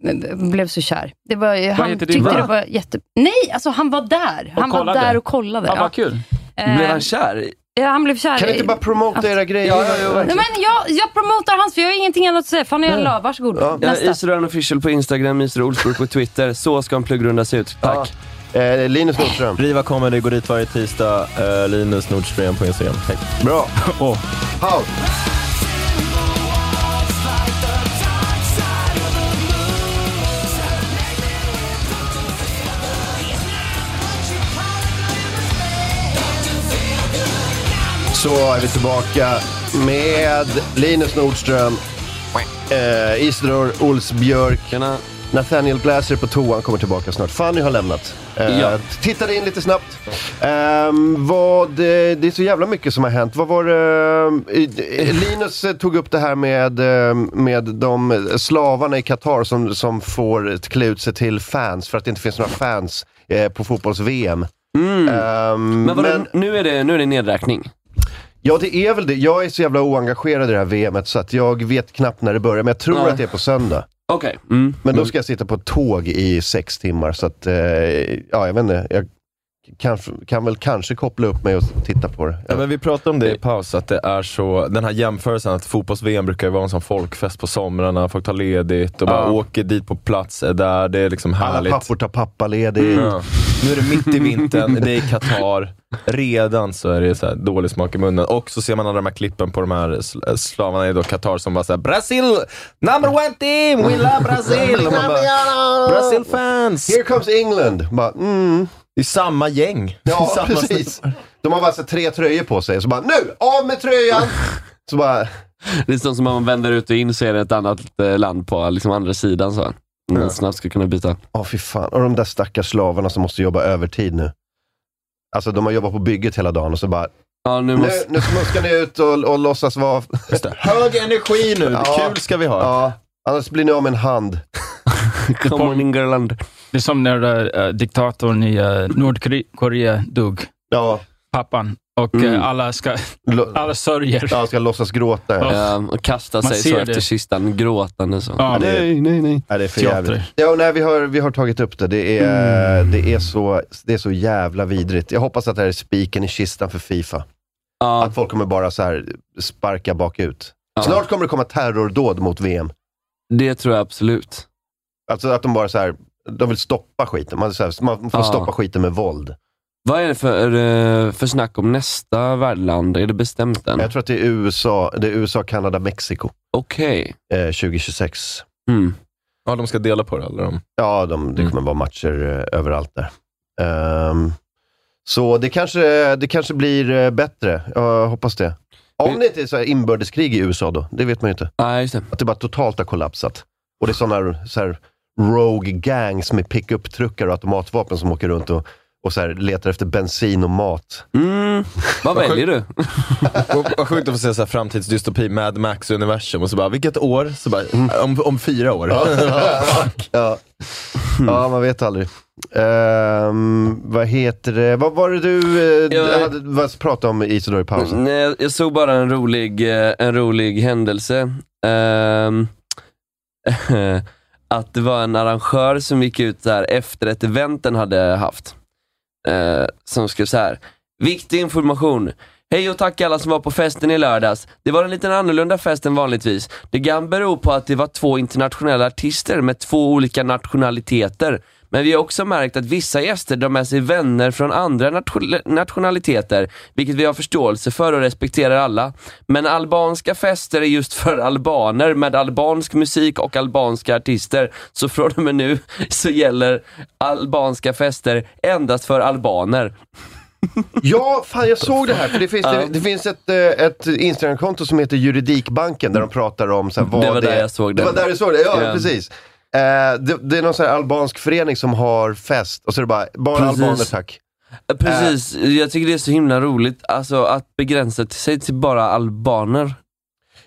eh, blev så kär. Det var, ju- han heter tyckte din bror? det var jätte... Nej, alltså han var där. han var kollade? där och kollade. Ja, ja. vad kul. Eh, Blev han kär? ja, han blev kär kan du i- inte bara promota era grejer? Ja, ja, ja, Nej, verkligen. men jag, jag promotar hans, för jag har ingenting annat att säga. Fanny Hölla, varsågod. Ja, Nästa. Israel Official på Instagram, Israel Olsburg på Twitter. Så ska en pluggrunda se ut. Tack. Eh, Linus Nordström. Riva Comedy går dit varje tisdag. Eh, Linus Nordström på Instagram. Tack. Bra. Åh. Paus. Så är vi tillbaka med Linus Nordström, eh, Isidor Olsbjörk, Tjena. Nathaniel Glaser på toan kommer tillbaka snart. Fanny har lämnat. Eh, Ja. Tittade in lite snabbt. Ehm, vad, eh, det är så jävla mycket som har hänt. Vad var det, eh, eh, Linus eh, tog upp det här med, eh, med de eh, slavarna i Qatar som, som får klä ut sig till fans för att det inte finns några fans eh, på fotbolls-VM. Ehm, Mm. Eh, Men, vadå, men- nu, är det, nu är det nedräkning. Ja, det är väl det. Jag är så jävla oengagerad i det här VMet så att jag vet knappt när det börjar, men jag tror Nej. att det är på söndag. Okej. Mm. Men då ska jag sitta på ett tåg i sex timmar, så att, eh, ja, jag vet inte. Jag kan, kan väl kanske koppla upp mig och titta på det. Ja, men vi pratade om det i paus, att det är så, den här jämförelsen att fotbolls-VM brukar ju vara en sån folkfest på somrarna, folk tar ledigt och bara Ja. åker dit på plats, är där, det är liksom Alla härligt. Mm. pappor tar pappaledigt. Ja. Nu är det mitt i vintern, det är i Qatar. Redan så är det så här dålig smak i munnen. Och så ser man alla de här klippen på de här sl- slavarna i då Qatar som bara såhär “Brasil! Number one team! We love Brazil!” och man bara, “Brazil fans!” Here comes England! Bara, mm. Det är samma gäng. Det Ja, är samma precis. De har bara så här tre tröjor på sig, så bara nu, av med tröjan! Så bara, Det är sånt som man vänder ut och in så är det ett annat eh, land på liksom andra sidan. Så. Man snabbt ska kunna byta. Ja, fy fan. Och de där stackars slavarna som måste jobba övertid nu. Alltså, de har jobbat på bygget hela dagen och så bara, Ja, nu nu, måste... nu smuskar ni ut och, och låtsas vara... Just det. Hög energi nu, Ja. kul ska vi ha. Ja, annars blir ni av med en hand. Come on England. Det är som när eh, diktatorn i eh, Nordkorea dog. Ja, Pappan. och eh, alla, ska, alla sörjer. Mm. Ja, ska låtsas gråta. Ja, Ehm, och kasta Man sig så ser efter det. kistan, gråtande så. Ja, det är- Nej, nej. Nej, det är för jävligt. Ja, nej, vi, har, vi har tagit upp det. Det är, Mm. det, är så, det är så jävla vidrigt. Jag hoppas att det här är spiken i kistan för Fifa. Att folk kommer bara så här sparka bakut. Snart kommer det komma terrordåd mot VM. Det tror jag absolut. Alltså att de bara så här, de vill stoppa skiten. Man, så här, man får Ja. stoppa skiten med våld. Vad är det för, eh, för snack om nästa värdland? Är det bestämt än? Jag tror att det är USA, det är USA Kanada, Mexiko. Okej. Eh, 2026. Ja, de ska dela på det, eller? De? Ja, de, det kommer vara matcher eh, överallt där. Ehm, så det kanske, det kanske blir eh, bättre. Jag hoppas det. Om det inte är så här inbördeskrig i USA då. Det vet man ju inte. Att det bara totalt har kollapsat. Och det är sådana så här rogue gangs med pickup-truckar och automatvapen som åker runt och, och så här letar efter bensin och mat. Vad väljer du? Vad- Vad sjukt att få se så här framtidsdystopi, Mad Max-universum, och så bara, vilket år? Så bara, om, om fyra år. ja. ja, man vet aldrig. Ehm, vad heter det? Vad var det du eh, Jag- hade, vad pratade om Isidor i pausen? Nej, jag såg bara en rolig, eh, en rolig händelse. Ehm, att det var en arrangör som gick ut där efter ett event den hade haft. eh, som skrev så här. Viktig information. Hej och tack alla som var på festen i lördags. Det var en liten annorlunda fest än vanligtvis. Det kan bero på att det var två internationella artister med två olika nationaliteter. Men vi har också märkt att vissa gäster drar med sig vänner från andra nation- nationaliteter, vilket vi har förståelse för och respekterar alla. Men albanska fester är just för albaner med albansk musik och albanska artister. Så från och med nu så gäller albanska fester endast för albaner. Ja, fan jag såg det här. För det finns, det, det finns ett, eh, ett Instagramkonto som heter Juridikbanken där de pratar om så här, vad Det var där jag såg det. den. var där du såg det, ja Ja. precis. Eh, det, det är någon så här albansk förening som har fest och så är det bara, bara Precis. albaner tack. Eh, Precis, jag tycker det är så himla roligt alltså, att begränsa till sig till bara albaner.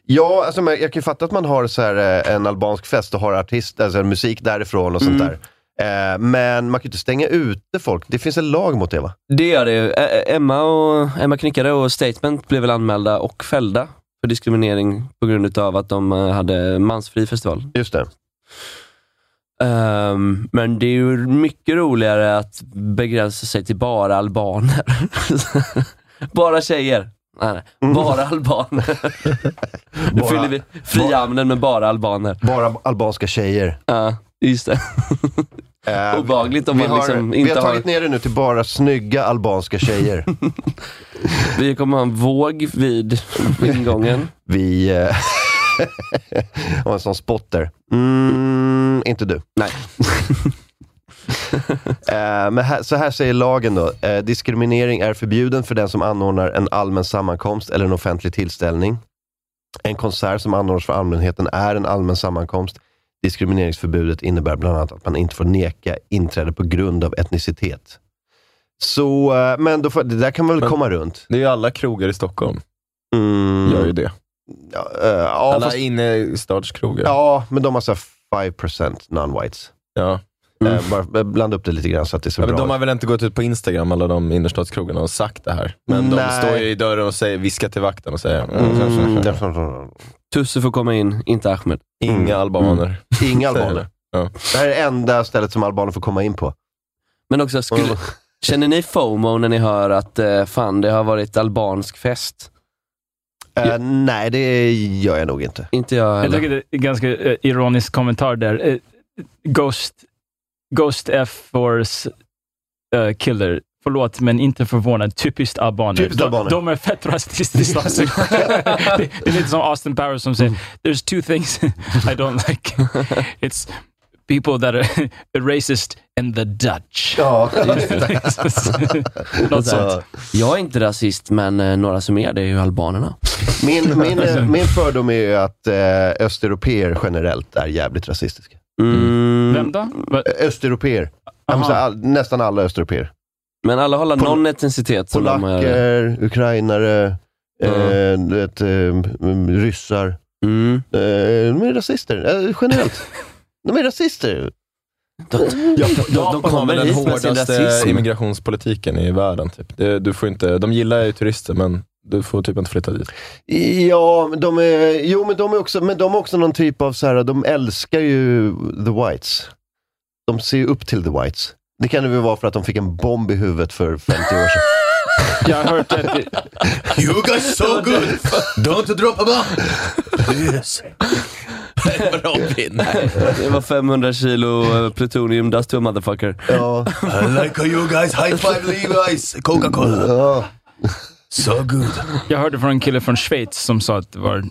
Ja, alltså, men jag kan ju fatta att man har så här, eh, en albansk fest och har artist, alltså, musik därifrån och sånt Mm. där. Eh, men man kan ju inte stänga ute folk. Det finns en lag mot det va? Det gör det ju. Ä- Ä- Emma, och, Emma Knickare och Statement blev väl anmälda och fällda för diskriminering på grund utav att de eh, hade mansfri festival. Just det. Ehm, men det är ju mycket roligare att begränsa sig till bara albaner. bara tjejer. Nej, nej. Bara albaner. Nu Mm. Bara- fyller vi frihamnen med bara albaner. Bara albanska tjejer. Ja, just det. Eh, Obehagligt om vi, man har, liksom vi inte har har- tagit ner det nu till bara snygga albanska tjejer. Vi kommer ha en våg vid ingången. Vi eh, har en sån spotter. Mm, inte du. Nej. Eh, men här, så här säger lagen då. Eh, diskriminering är förbjuden för den som anordnar en allmän sammankomst eller en offentlig tillställning. En konsert som anordnas för allmänheten är en allmän sammankomst. Diskrimineringsförbudet innebär bland annat att man inte får neka inträde på grund av etnicitet. Så, eh, men då får, det där kan man väl Men- komma runt? Det är ju alla krogar i Stockholm, Mm, gör ju det. ja, eh, ja, alla fast- innestadskrogar. Ja, men de har såhär 5% non-whites. Ja. Eh, bara eh, blanda upp det lite grann så att det ser Ja, men bra de har ut. väl inte gått ut på Instagram, alla de innerstadskrogarna, och sagt det här. Men de Nej. står ju i dörren och säger, viskar till vakten och säger, Mm, därför- Tusse får komma in, inte Ahmed. inga albaner. Inga Säger albaner. det. Ja. Det här är det enda stället som albaner får komma in på. Men också, skulle, känner ni FOMO när ni hör att eh, fan, det har varit albansk fest? Eh, Nej, det gör jag nog inte. Inte jag Jag heller. tycker det är en ganska eh, ironisk kommentar där. Eh, Ghost, Ghost F Force eh, Killer. Förlåt, men inte förvånad. Typiskt albaner. Typiskt albaner. De, de är fett rasistiska. Alltså. det, det är lite som Austin Powers som Mm. säger, “There's two things I don't like. It's people that are racist and the Dutch”. Ja. Något sånt. Jag är inte rasist, men eh, några som är det är ju albanerna. Min, min, eh, min fördom är ju att eh, östeuropeer generellt är jävligt rasistiska. Mm. Vem då? Va- Ö- Östeuropeer. Ja, men Aha. så här, all, nästan alla östeuropeer. Men alla har Pol- eh. någon etnicitet som de är. Polacker, ukrainare, eh, du vet, eh, mm, ryssar. Mm. Eh, de är rasister, eh, generellt. De är rasister. Japan kommer har väl den hit med sin hårdaste rasism. immigrationspolitiken i världen. Typ. Det, du får inte, de gillar ju turister, men du får typ inte flytta dit. Ja, men de är, jo, men de är också, men de är också någon typ av så här, de älskar ju the whites. De ser ju upp till the whites. Det kan det väl vara för att de fick en bomb i huvudet för 50 år sedan. Jag har hört att... You guys so good! Don't drop a bomb! Yes. Bra pinne. Det var 500 kilo eh, plutonium dust to a motherfucker. Ja. I like how you guys high five Levi's Coca-Cola. So good. Jag hörde från en kille från Schweiz som sa att det var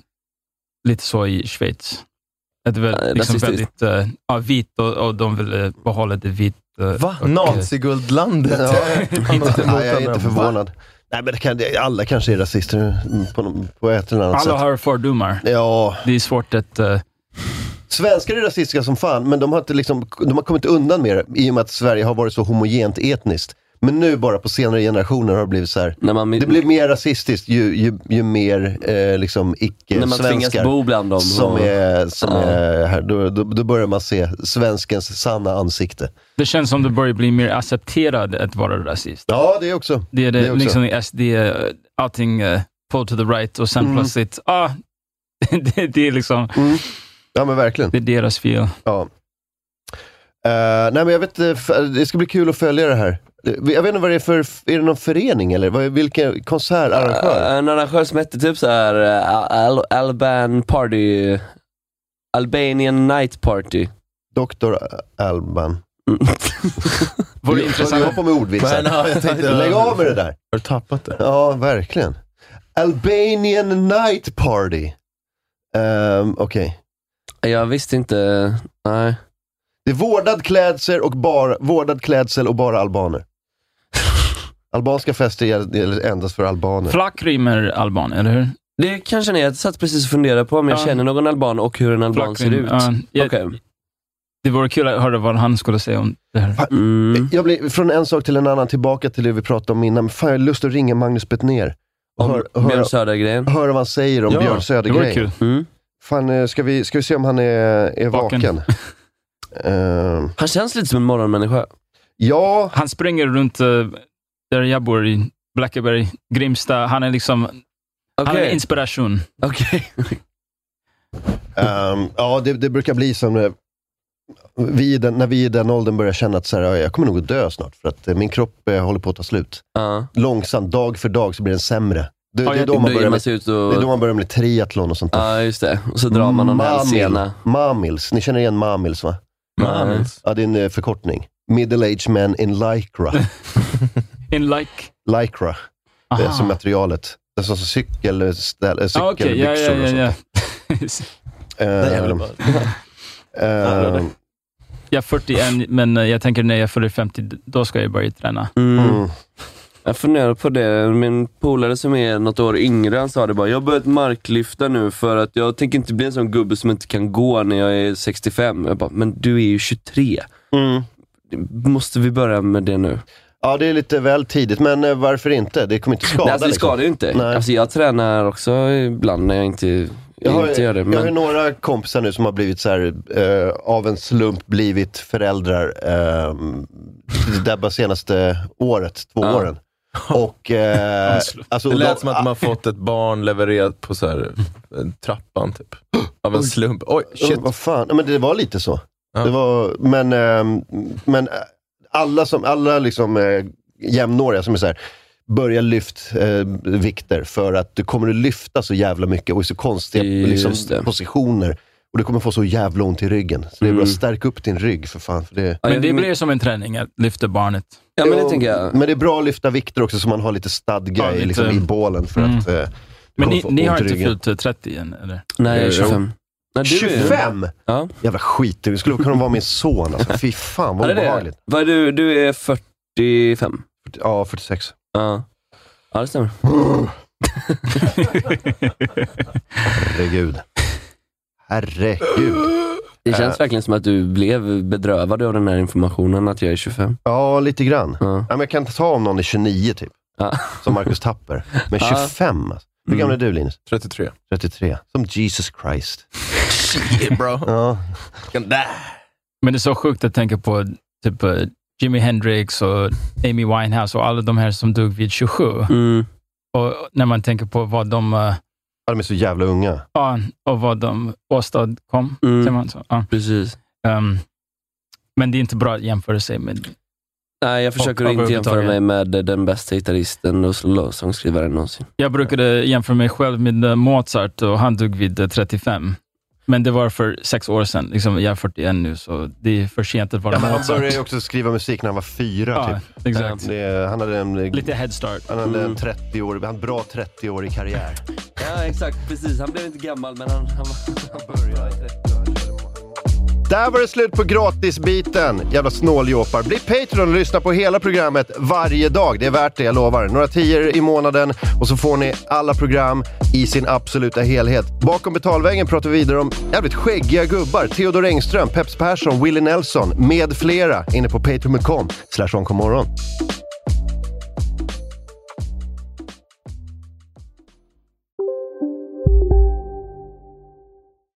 lite så i Schweiz. Att det var liksom rasistiskt. väldigt eh, ja, vit och, och de ville behålla det vitt. eh, Va? och, eh, Naziguldlandet? Ja, Han har- nej, jag är inte Va? förvånad. Nej, men det kan, det- alla kanske är rasister mm, på, någon- på ett eller annat Alla sätt. har fördomar. Ja. Det är svårt att... eh, Svenskar är rasistiska som fan, men de har, inte liksom, de har kommit undan med det i och med att Sverige har varit så homogent etniskt. Men nu bara på senare generationer har det blivit så här. det blir mer rasistiskt ju, ju, ju mer eh, liksom När man icke-svenskar tvingas bo bland dem. som Och- är, som Ja. är här. Då, då, då börjar man se svenskens sanna ansikte. Det känns som det börjar bli mer accepterad att vara rasist. Ja, det också. Det är det, Det också. liksom i SD, eh, allting eh, pull to the right och sen Mm. plötsligt, ah, det, det är liksom... mm. Ja, men verkligen. Det är deras fel. Ja. Eh, nej, men jag vet, inte, f- det ska bli kul att följa det här. Jag vet inte vad det är för, är det någon förening eller? Vad- Vilken konsertarrangör? Eh, En arrangör som hette typ så här eh, Al Alban Party. Albanian Night Party. Dr. Alban. Vore Du- Du hoppar med ordvitsar. Men, ja, jag tänkte- Lägg av med det där. Har du tappat det? Ja, verkligen. Albanian Night Party. Um, Okej. Jag visste inte, nej. Det är vårdad klädsel och bara, vårdad klädsel och bara albaner. Albanska fester gäller gäller endast för albaner. Flackrymer alban, eller hur? Det kanske ni, jag satt precis och funderade på om jag Ja. känner någon alban och hur en alban ser Flackrim, ut. ja. Jag- Okej. Det vore kul att höra vad han skulle säga om det här. Mm. Jag blir från en sak till en annan, tillbaka till det vi pratade om innan. Men fan, jag har lust att ringa Magnus Bettner. och hör- Om höra- Björn Söder-grejen. Hör vad han säger om Ja, Björn Söder det vore kul. Mm. Fan, eh, ska vi, ska vi se om han är, är Vaken. vaken? Eh, Han känns lite som en morgonmänniska. ja, Han springer runt eh, där jag bor i Blackeberg, Grimsta. Han är liksom han är Okej. inspiration. Okej. Ehm, ja, det, det brukar bli som när vi, i den, när vi i den åldern börjar känna att så här, "Ja, jag kommer nog att dö snart, för att eh, min kropp eh, håller på att ta slut. Ja. Långsamt, dag för dag, så blir den sämre. Det, Ja, det, är jag- då man Då ger börjar man med, sig ut det är då och... man börjar med triathlon och sånt där. Ja, just det. Och så drar man någon hälsena. Mamils, ni känner igen Mamils va? Mamils. Ja, det är en eh, förkortning. Middle aged men in lycra. In like... lycra, Aha. eh, som materialet. Alltså så cykel, eh, ställ, eh, Ah, Okej, ja, ja, cykelbyxor och ja, sånt. ja. Ehm, Nej, jag vill bara- ehm, Jag är 41, men eh, jag tänker när jag fyller 50, då ska jag börja träna. mm. Jag funderar på det. Min polare som är något år yngre, han sa det bara. Jag har börjat marklyfta nu för att jag tänker inte bli en sån gubbe som inte kan gå när jag är 65. Jag bara, men du är ju 23. Mm. Måste vi börja med det nu? Ja, det är lite väl tidigt, men eh, varför inte? Det kommer inte skada. liksom. Nej, alltså, det skadar ju inte. Nej. Alltså, jag tränar också ibland när jag inte, Jag har, inte gör det. jag har ju Men, några kompisar nu som har blivit så här, eh, av en slump blivit föräldrar eh, det där bara senaste året, två Ja. åren. Och, eh, alltså, Det de- lät som att man fått ett barn levererat på så här, eh, trappan, typ. Av en slump. Oj, shit. Shit, vad fan. Ja, Men det var lite så. Ja. Det var, men, ehm, men eh, alla, som, alla liksom, eh, jämnåriga som är så här, börja lyft eh, vikter för att du kommer att lyfta så jävla mycket och i så konstiga liksom, Just det. positioner. Och du kommer få så jävla ont i ryggen. Så det är Mm. bara stärk upp din rygg för fan. För det, Ja, Men jag- det blir som en träning, att lyfta barnet. ja, men det tänker jag. Men det är bra att lyfta vikter också så man har lite stadga Ja, i, lite- liksom, i bålen. För Mm. att, eh, du Men kommer ni, få ni ont har i inte ryggen. fyllt eh, 30 än, eller? Nej, jag är Jo. 25. Nej, du är- 25? Ja. Jävla skit. Du skulle kunna vara min son. Alltså. Fy fan vad Är det det? obehagligt. Vad är du? Du är 45? Ja, 46. Ja. Ja, det stämmer. Herregud. Herregud. Det Eh. känns verkligen som att du blev bedrövad av den här informationen, att jag är 25. Ja, lite grann. Ja. Ja. men jag kan ta om någon är 29 typ, Ja. som Marcus Tapper. Men Ja. 25 alltså. Hur gammal är du Linus? 33. 33. Som Jesus Christ. Shit bro. Ja. Can die. Men det är så sjukt att tänka på typ eh, Jimi Hendrix och Amy Winehouse och alla de här som dog vid 27. Mm. Och när man tänker på vad de... eh, Ja, de är så jävla unga. Ja, och vad de åstadkom. Mm. Säger man så? Ja. ehm, Precis. men det är inte bra att jämföra sig med... Nej, jag försöker Och- inte jämföra överhuvudtaget. mig med den bästa gitarristen och sl- sångskrivaren någonsin. Jag brukade jämföra mig själv med eh, Mozart och han dog vid eh, 35. Men det var för sex år sedan. Liksom, jag är 41 nu, så det är för sent att vara Ja, men han Mozart. började ju också skriva musik när han var fyra. alltså. Ja, typ. exakt. Det, han hade en, Lite head start. Han hade en Mm. 30 år, han hade bra 30-årig karriär. Ja, exakt. Precis. Han blev inte gammal, men han, han, han började. Där var det slut på gratisbiten. Jävla snåljåpar. Bli Patreon och lyssna på hela programmet varje dag. Det är värt det, jag lovar. Några tior i månaden och så får ni alla program i sin absoluta helhet. Bakom betalväggen pratar vi vidare om jävligt skäggiga gubbar. Theodor Engström, Peps Persson, Willie Nelson med flera inne på patreon.com slash onkomorgon.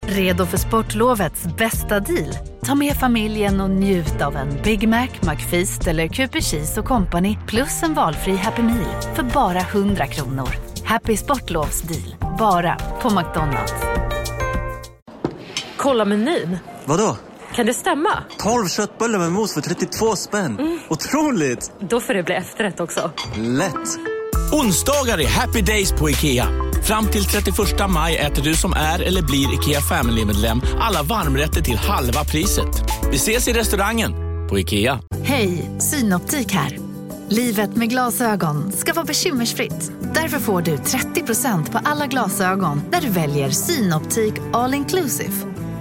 Redo för sportlovets bästa deal? Ta med familjen och njut av en Big Mac, McFeast eller Cooper Cheese och Company plus en valfri Happy Meal för bara 100 kronor. Happy Sportlovs deal, bara på McDonalds. Kolla menyn. Vadå? Kan det stämma? 12 köttbullar med mos för 32 spänn. Mm. Otroligt! Då får det bli efterrätt också. Lätt! Onsdagar är happy days på IKEA. Fram till 31 maj äter du som är eller blir IKEA Family-medlem alla varmrätter till halva priset. Vi ses i restaurangen på IKEA. Hej, Synoptik här. Livet med glasögon ska vara bekymmersfritt. Därför får du 30% på alla glasögon när du väljer Synoptik All Inclusive.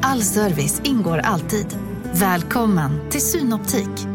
All service ingår alltid. Välkommen till Synoptik.